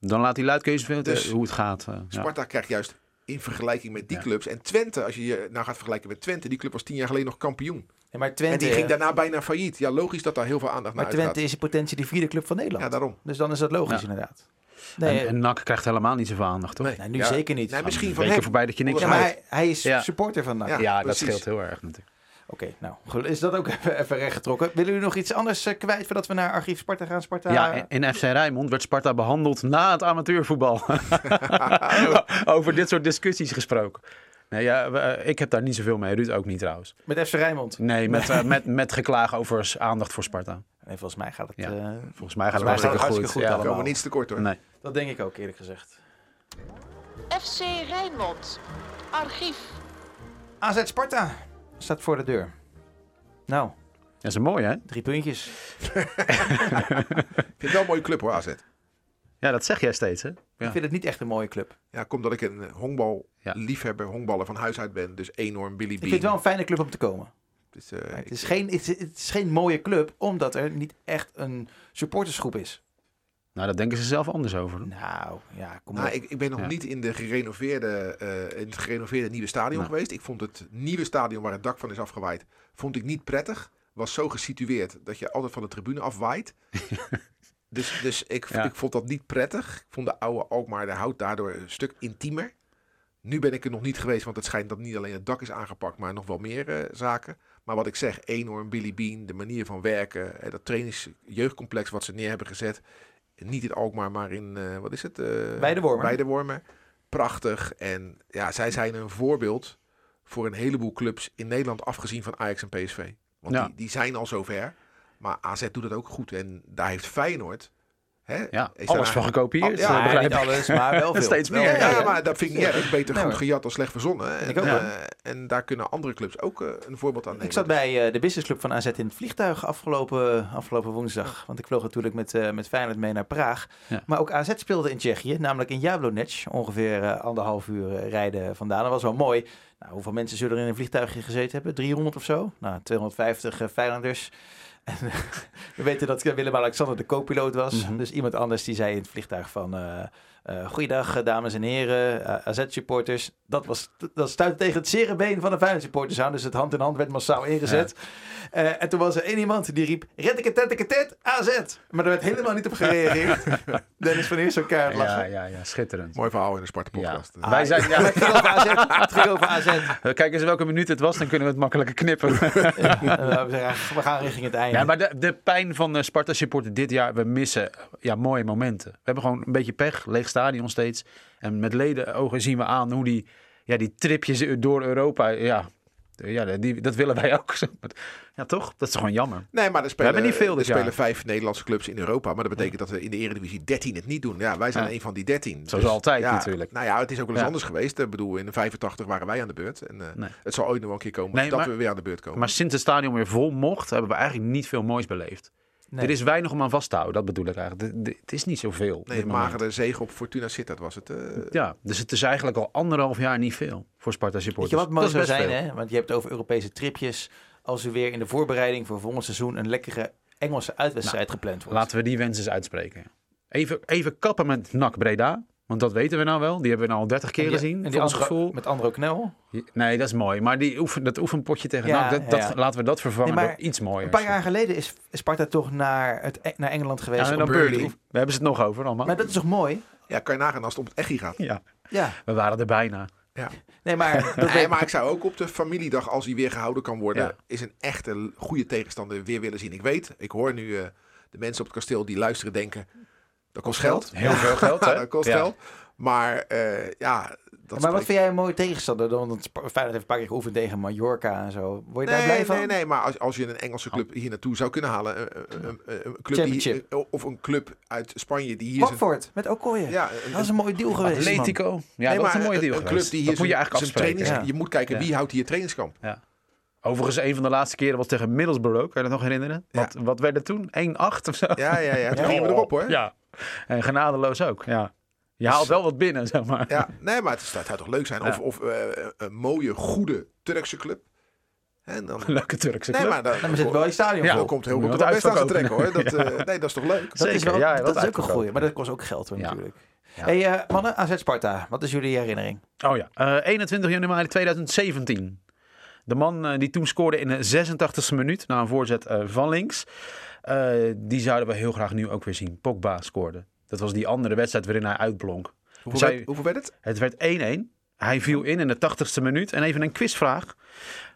S3: Dan laat hij luidkees weten
S4: Dus-
S3: hoe het gaat. eh, ja.
S4: Sparta krijgt juist in vergelijking met die
S3: Ja.
S4: clubs. En Twente, als je je nou gaat vergelijken met Twente, die club was tien jaar geleden nog kampioen.
S2: En maar
S4: En
S2: Twente, eh,
S4: die ging daarna bijna failliet. Ja, logisch dat daar heel veel aandacht
S2: maar
S4: naar uitgaat.
S2: Twente is in potentie de vierde club van Nederland.
S4: Ja, daarom.
S2: Dus dan is dat logisch, inderdaad. Nee,
S3: En, en NAC krijgt helemaal niet zoveel aandacht, toch?
S4: Nee.
S2: nou, nu
S4: Ja,
S2: zeker niet.
S4: nee, misschien van
S3: Weken
S4: hem.
S3: voorbij dat je niks
S2: ja,
S4: Ja,
S2: maar
S3: houdt.
S2: hij, hij is
S3: Ja.
S2: supporter van NAC.
S4: Ja.
S3: Ja, dat
S4: precies.
S3: scheelt heel erg natuurlijk.
S2: Oké, nou, gelu- is dat ook even, even rechtgetrokken. Willen jullie nog iets anders eh, kwijt voordat we naar Archief Sparta gaan? Sparta?
S3: Ja, in FC Rijnmond werd Sparta behandeld na het amateurvoetbal. Over dit soort discussies gesproken. Nee, ja, we, eh, ik heb daar niet zoveel mee. Ruud ook niet trouwens.
S2: Met FC Rijnmond.
S3: Nee, met, eh, met, met geklaag over s- aandacht voor Sparta.
S2: Nee, volgens mij gaat het...
S3: Ja.
S2: eh,
S3: Volgens mij gaat het
S2: Volgens mij
S3: hartstikke
S2: gaat het
S3: goed.
S2: hartstikke goed
S3: Ja.
S4: We
S2: allemaal.
S4: komen niets tekort hoor.
S3: Nee.
S2: dat denk ik ook, eerlijk gezegd.
S5: FC Rijnmond. Archief.
S2: AZ Sparta staat voor de deur. Nou,
S3: Dat is een mooi, hè?
S2: drie puntjes.
S4: Ik vind het wel een mooie club hoor, AZ.
S3: Ja, dat zeg jij steeds, hè? Ja.
S2: Ik vind het niet echt een mooie club.
S4: Ja, komt dat ik een eh, honkballiefhebber,
S3: Ja.
S4: liefhebber, honkballer van huis uit ben. Dus enorm Billy
S2: Ik
S4: Bean.
S2: vind het wel een fijne club om te komen.
S4: Dus, eh,
S2: Maar
S4: ik-
S2: het, is geen, het, is, het is geen mooie club, omdat er niet echt een supportersgroep is.
S3: Nou, daar denken ze zelf anders over. hoor.
S2: Nou, ja, kom
S4: Nou,
S2: op.
S4: ik, ik ben nog
S3: Ja.
S4: niet in, de gerenoveerde, eh, in het gerenoveerde nieuwe stadion
S2: Nou.
S3: Nee.
S4: geweest. Ik vond het nieuwe stadion waar het dak van is afgewaaid, vond ik niet prettig. Was zo gesitueerd dat je altijd van de tribune afwaait. dus dus ik,
S3: Ja.
S4: ik vond dat niet prettig. Ik vond de oude Alkmaar de hout daardoor een stuk intiemer. Nu ben ik er nog niet geweest, want het schijnt dat niet alleen het dak is aangepakt, maar nog wel meer eh, zaken. Maar wat ik zeg, enorm Billy Bean, de manier van werken, eh, dat trainingsjeugdcomplex wat ze neer hebben gezet. Niet in Alkmaar, maar in, eh, wat is het? eh
S2: Weidewormer.
S4: Weidewormer. Prachtig. En ja, zij zijn een voorbeeld voor een heleboel clubs in Nederland, afgezien van Ajax en PSV. Want
S3: Ja.
S4: die, die zijn al zover. Maar AZ doet dat ook goed. En daar heeft Feyenoord... Hè,
S3: Ja,
S4: is daar
S3: alles van gekopieerd.
S4: Ja,
S3: eh,
S2: Oh, Ja,
S3: begrijp
S2: niet
S3: ik.
S2: alles, maar wel veel.
S3: Steeds
S2: Wel
S3: meer,
S2: veel.
S4: ja, ja, maar dat vind ik niet erg. Beter
S2: Nee,
S4: goed
S2: hoor.
S4: gejat dan slecht verzonnen. hè. En,
S2: Ik ook,
S4: eh,
S2: ja.
S4: en daar kunnen andere clubs ook eh, een voorbeeld aan nemen.
S2: Ik zat bij eh, de businessclub van AZ in het vliegtuig afgelopen, afgelopen woensdag. Want ik vloog natuurlijk met, eh met Feyenoord mee naar Praag.
S3: Ja.
S2: Maar ook AZ speelde in Tsjechië, namelijk in Jablonec. Ongeveer eh, anderhalf uur eh, rijden vandaan. Dat was wel mooi. Nou, hoeveel mensen zullen er in een vliegtuigje gezeten hebben? 300 of zo? Nou, 250 eh, Feyenoorders. En, eh, we weten dat Willem-Alexander de co-piloot was.
S3: Mhm.
S2: Dus iemand anders die zei in het vliegtuig van... eh, eh, goeiedag, eh, dames en heren, eh, AZ-supporters. Dat, was, dat stuitte tegen het zere been van de Feyenoord-supporters aan. Dus het hand in hand werd massaal ingezet. Eh, en toen was er één iemand die riep... Reddiketetteketet, AZ! Maar daar werd helemaal niet op gereageerd. Dennis van Eerst elkaar het
S3: Ja,
S2: lachen.
S3: ja, ja, schitterend.
S4: Mooi verhaal in de Sparta podcast.
S3: Ja. Ah. Wij zijn, ja,
S2: Het ging over AZ. Het ging over AZ.
S3: kijk eens welke minuut het was, dan kunnen we het makkelijker knippen.
S2: Eh, we zeggen, "Ach, we gaan richting het einde.
S3: Ja, maar de, de pijn van de Sparta supporter dit jaar, we missen eh, ja, mooie momenten. We hebben gewoon een beetje pech, leeg stadion steeds. En met leden eh, ogen zien we aan hoe die, ja, die tripjes door Europa, eh, ja, ja die, dat willen wij ook. Ja, toch? Dat is gewoon jammer.
S4: Nee, maar er spelen,
S3: hebben niet veel
S4: er
S3: dit jaar.
S4: spelen vijf Nederlandse clubs in Europa. Maar dat betekent dat we in de Eredivisie 13 het niet doen. Ja, wij zijn
S3: Ja.
S4: een van die 13.
S3: Zoals altijd natuurlijk.
S4: Nou ja, het is ook wel eens
S3: Ja.
S4: anders geweest. Ik bedoel, in de 85 waren wij aan de beurt. En eh,
S3: Nee.
S4: het zal ooit nog wel een keer komen
S3: Nee,
S4: dat
S3: maar-
S4: we weer aan de beurt komen.
S3: Maar sinds het stadion weer vol mocht, hebben we eigenlijk niet veel moois beleefd.
S2: Nee.
S3: Er is weinig om aan vast te houden, dat bedoel ik eigenlijk. De- de- Het is niet zoveel.
S4: nee,
S3: dit
S4: een
S3: moment.
S4: magere zege op Fortuna Sittard was het. eh.
S3: Ja, dus het is eigenlijk al anderhalf jaar niet veel voor Sparta
S2: Weet
S3: supporters.
S2: je wat mooi
S3: Dat is
S2: zou
S3: best
S2: zijn,
S3: veel.
S2: hè? Want je hebt het over Europese tripjes. Als er weer in de voorbereiding voor volgend seizoen een lekkere Engelse uitwedstrijd gepland wordt.
S3: Laten we die wens eens uitspreken. Even, even kappen met NAC Breda. Want dat weten we nou wel. Die hebben we nou al dertig keer
S2: En die-
S3: gezien.
S2: en
S3: voor
S2: die
S3: ons
S2: andere-
S3: gevoel.
S2: Met Andro Knel.
S3: Nee, dat is mooi. Maar die oefen, dat oefenpotje tegen
S2: Ja,
S3: NAC, dat, dat,
S2: ja.
S3: laten we dat vervangen
S2: Nee, maar
S3: door iets mooiers.
S2: Een paar jaar geleden is Sparta toch naar, het, E- naar Engeland
S3: Ja,
S2: geweest.
S3: en
S2: om
S3: dan
S2: Burnley.
S3: Burnley. Daar hebben ze het nog over allemaal.
S2: Maar dat is toch mooi?
S4: Ja, kan je nagaan als het om het echt gaat.
S3: Ja,
S2: Ja.
S3: we waren er bijna.
S4: Ja.
S2: Nee, maar dat
S4: Nee,
S2: weet
S4: maar ik zou ook op de familiedag, als die weer gehouden kan worden,
S3: Ja.
S4: is een echte l- goede tegenstander weer willen zien. Ik weet, ik hoor nu eh, de mensen op het kasteel die luisteren denken, dat kost geld.
S3: Heel veel geld, hè?
S4: dat kost
S3: Ja.
S4: geld. Maar eh, ja,
S2: Maar wat
S4: dat spreekt-
S2: vind jij een mooie tegenstander? dan? Want Sp- Feyenoord heeft een paar keer geoefend tegen Mallorca en zo. Word je daar
S4: Nee,
S2: blij van?
S4: nee, nee, maar als, als je een Engelse club hier naartoe zou kunnen halen, eh, eh, eh, eh, een club die,
S2: Championship.
S4: eh, of een club uit Spanje die hier zijn-
S2: Watford, met Okoye.
S4: Ja, een-
S2: dat is een mooi deal geweest.
S3: Atletico. Ja,
S4: Nee,
S3: dat is
S4: maar
S3: een mooie deal
S4: een club
S3: geweest.
S4: die hier
S3: dat moet je
S4: zijn-
S3: eigenlijk
S4: zijn
S3: afspreken.
S4: trainings-
S2: ja.
S4: Je moet kijken wie houdt hier trainingskamp.
S3: Ja. Overigens, een van de laatste keren was tegen Middlesbrough. Kan je dat nog herinneren?
S4: Ja.
S3: Wat, wat werd er toen? 1-8 of zo?
S4: Ja, ja, ja. Toen gingen we erop hoor. Dus-
S3: Ja. En genadeloos ook. Ja. Je haalt wel wat binnen, zeg maar.
S4: Ja, nee, maar het, is, het zou toch leuk zijn. Of,
S3: Ja.
S4: of eh, een mooie, goede Turkse club. En dan,
S3: Leuke Turkse
S4: nee,
S3: club.
S4: maar dan,
S2: Dan zit wel je stadion
S3: Ja.
S4: dan
S2: vol.
S4: komt heel
S3: Moet je
S4: goed de
S3: wat
S4: best aan te trekken
S3: uitverkopen.
S4: hoor. Dat, eh, nee, dat is toch leuk.
S2: Dat is,
S3: Zeker,
S2: wel,
S3: ja,
S2: dat
S3: wat
S2: is ook een
S3: uitverkopen.
S2: goeie, maar dat kost ook geld hoor,
S3: Ja.
S2: natuurlijk.
S3: Ja.
S2: Hey eh, mannen, AZ Sparta, wat is jullie herinnering?
S3: Oh ja, eh, 21 januari 2017. De man eh, die toen scoorde in de 86e minuut na een voorzet eh, van links. eh, die zouden we heel graag nu ook weer zien. Pogba scoorde. Dat was die andere wedstrijd waarin hij uitblonk.
S4: Hoeveel,
S3: Zij-
S4: werd, hoeveel werd het?
S3: Het werd 1-1. Hij viel in in de 80ste minuut. En even een quizvraag.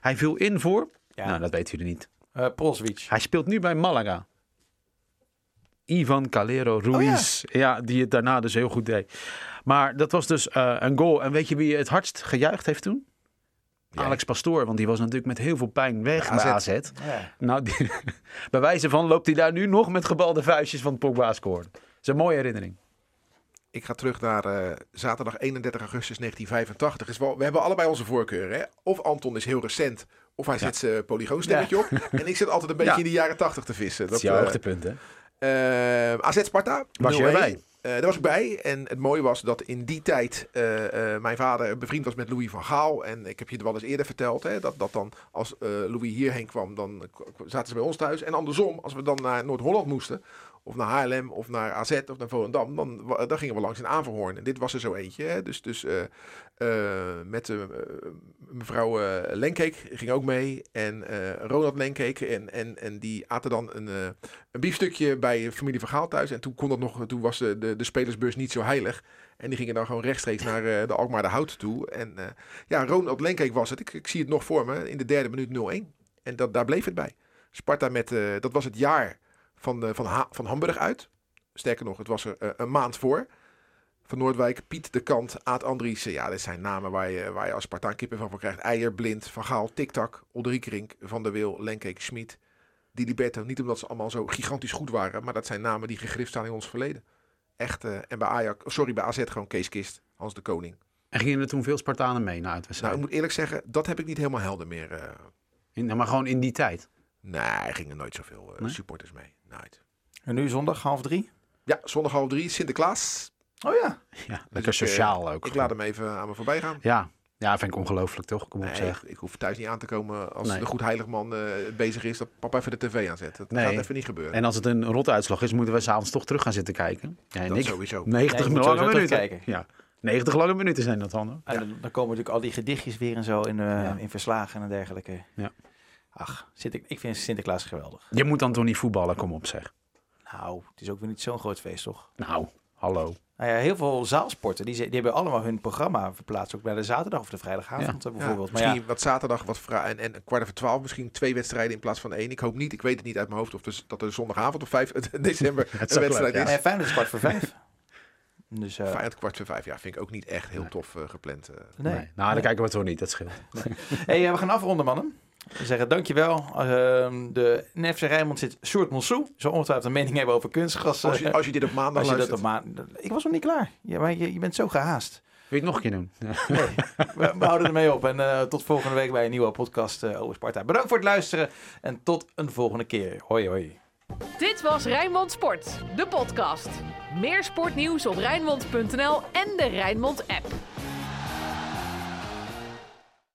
S3: Hij viel in voor...
S2: Ja.
S3: Nou, dat weten jullie niet.
S2: Eh Proswich.
S3: Hij speelt nu bij Malaga. Ivan
S4: Oh
S3: Calero Ruiz. ja. die het daarna dus heel goed deed. Maar dat was dus eh, een goal. En weet je wie het hardst gejuicht heeft toen?
S4: Jij.
S3: Alex Pastoor, want die was natuurlijk met heel veel pijn weg bij AZ.
S2: Ja.
S3: Nou, die- bij wijze van loopt hij daar nu nog met gebalde vuistjes van Pogba scoren. Dat is een mooie herinnering.
S4: Ik ga terug naar eh, zaterdag 31 augustus 1985. Is wel, we hebben allebei onze voorkeur. Hè? Of Anton is heel recent, of hij zet zijn polygoonstemmetje op. En ik zit altijd een beetje
S3: Ja.
S4: in de jaren 80 te vissen.
S3: Dat is jouw
S4: eh,
S3: hoogtepunt, hè?
S4: Eh, AZ Sparta.
S3: Was je
S4: 0-1.
S3: erbij?
S4: Eh, daar was ik bij. En het mooie was dat in die tijd eh, eh, mijn vader bevriend was met Louis van Gaal. En ik heb je het wel eens eerder verteld. Hè, dat, dat dan als eh, Louis hierheen kwam, dan k- k- zaten ze bij ons thuis. En andersom, als we dan naar Noord-Holland moesten. of naar Haarlem of naar AZ of naar Volendam, dan, wa- dan gingen we langs in Averhoorn. En dit was er zo eentje. Hè? Dus, dus eh, eh, met eh, mevrouw eh, Lenkeek ging ook mee en eh, Ronald Lenkeek. En, en, en die aten dan een, eh, een biefstukje bij familie van Gaal thuis. En toen, kon dat nog, toen was de, de, de spelersbus niet zo heilig. En die gingen dan gewoon rechtstreeks naar eh, de Alkmaar de Hout toe. En eh, ja, Ronald Lenkeek was het. Ik, ik zie het nog voor me. In de derde minuut 0-1. En dat, daar bleef het bij. Sparta met, eh, dat was het jaar van, eh, van, Ha- van Hamburg uit. Sterker nog, het was er eh, een maand voor. Van Noordwijk, Piet de Kant, Aad Andriessen. Ja, dit zijn namen waar je, waar je als Spartaan kippen van krijgt. Eier, Blind, Van Gaal, Tiktak, Olderiekerink, Van der Wil, Lenkeek, Schmid. Diliberto, niet omdat ze allemaal zo gigantisch goed waren, maar dat zijn namen die gegrift staan in ons verleden. Echt, eh, en bij Ajax, sorry, bij AZ gewoon Kees Kist, Hans de Koning.
S3: En gingen er toen veel Spartanen mee naar
S4: Nou,
S3: uitwedstrijden?
S4: ik moet eerlijk zeggen, dat heb ik niet helemaal helder meer. eh.
S3: In- nou, maar gewoon in die tijd.
S4: nee, er gingen nooit zoveel eh,
S3: Nee?
S4: supporters mee. Nooit.
S2: En nu zondag half drie.
S4: Ja, zondag half drie, Sinterklaas.
S2: Oh ja.
S3: Ja, lekker
S4: ik, eh,
S3: sociaal ook.
S4: Ik laat hem even aan me voorbij gaan.
S3: Ja. ja, vind ik ongelooflijk toch? Kom op
S4: Nee,
S3: zeg.
S4: ik, ik hoef thuis niet aan te komen als
S3: Nee.
S4: de goed heilig man eh, bezig is dat papa even de tv aanzet. Dat
S3: Nee.
S4: gaat even niet gebeuren.
S3: En als het een rotte uitslag is, moeten we s'avonds toch terug gaan zitten kijken. Ja, en
S4: dat
S3: ik-
S4: sowieso.
S3: 90
S2: Nee, je moet
S3: lange
S2: sowieso
S3: minuten.
S2: terugkijken. Eh.
S3: Ja, 90 lange minuten zijn dat dan. hoor.
S2: En dan, dan komen natuurlijk al die gedichtjes weer en zo in, eh,
S3: Ja.
S2: in verslagen en dergelijke.
S3: Ja.
S2: Ach, Sinter- ik vind Sinterklaas geweldig.
S3: Je moet dan toch niet voetballen, kom op zeg.
S2: Nou, het is ook weer niet zo'n groot feest, toch?
S3: Nou, hallo.
S2: Nou ja, heel veel zaalsporten, die, ze- die hebben allemaal hun programma verplaatst. Ook bij de zaterdag of de vrijdagavond eh,
S4: Ja,
S2: bijvoorbeeld. maar
S4: misschien
S2: ja,
S4: wat zaterdag wat vra- en, en een kwart over twaalf misschien twee wedstrijden in plaats van één. Ik hoop niet, ik weet het niet uit mijn hoofd of dus, dat er zondagavond of 5 december een
S3: zou leuk,
S4: wedstrijd
S3: ja.
S4: is.
S2: nee, Feyenoord is kwart voor vijf. Dus eh,
S4: Feyenoord kwart voor vijf, ja, vind ik ook niet echt heel tof eh, gepland. eh.
S2: nee.
S3: Nee. Nou, dan kijken we toch niet, dat scheelt.
S2: Hey, eh, we gaan afronden, mannen. We zeggen dankjewel. Ehm de in FC Rijnmond zit Sjoerd Monsou. Zo ongetwijfeld een mening hebben over kunstgras.
S4: Als, je,
S2: eh,
S4: als je dit op maandag
S2: als je dat
S4: luistert.
S2: op maand... Ik was nog niet klaar. Ja, maar je, je bent zo gehaast.
S3: Wil je het nog een keer doen?
S2: Nee, we, we houden ermee op. En eh, tot volgende week bij een nieuwe podcast eh, over Sparta. Bedankt voor het luisteren. En tot een volgende keer. Hoi, hoi.
S1: Dit was Rijnmond Sport, de podcast. Meer sportnieuws op Rijnmond.nl en de Rijnmond app.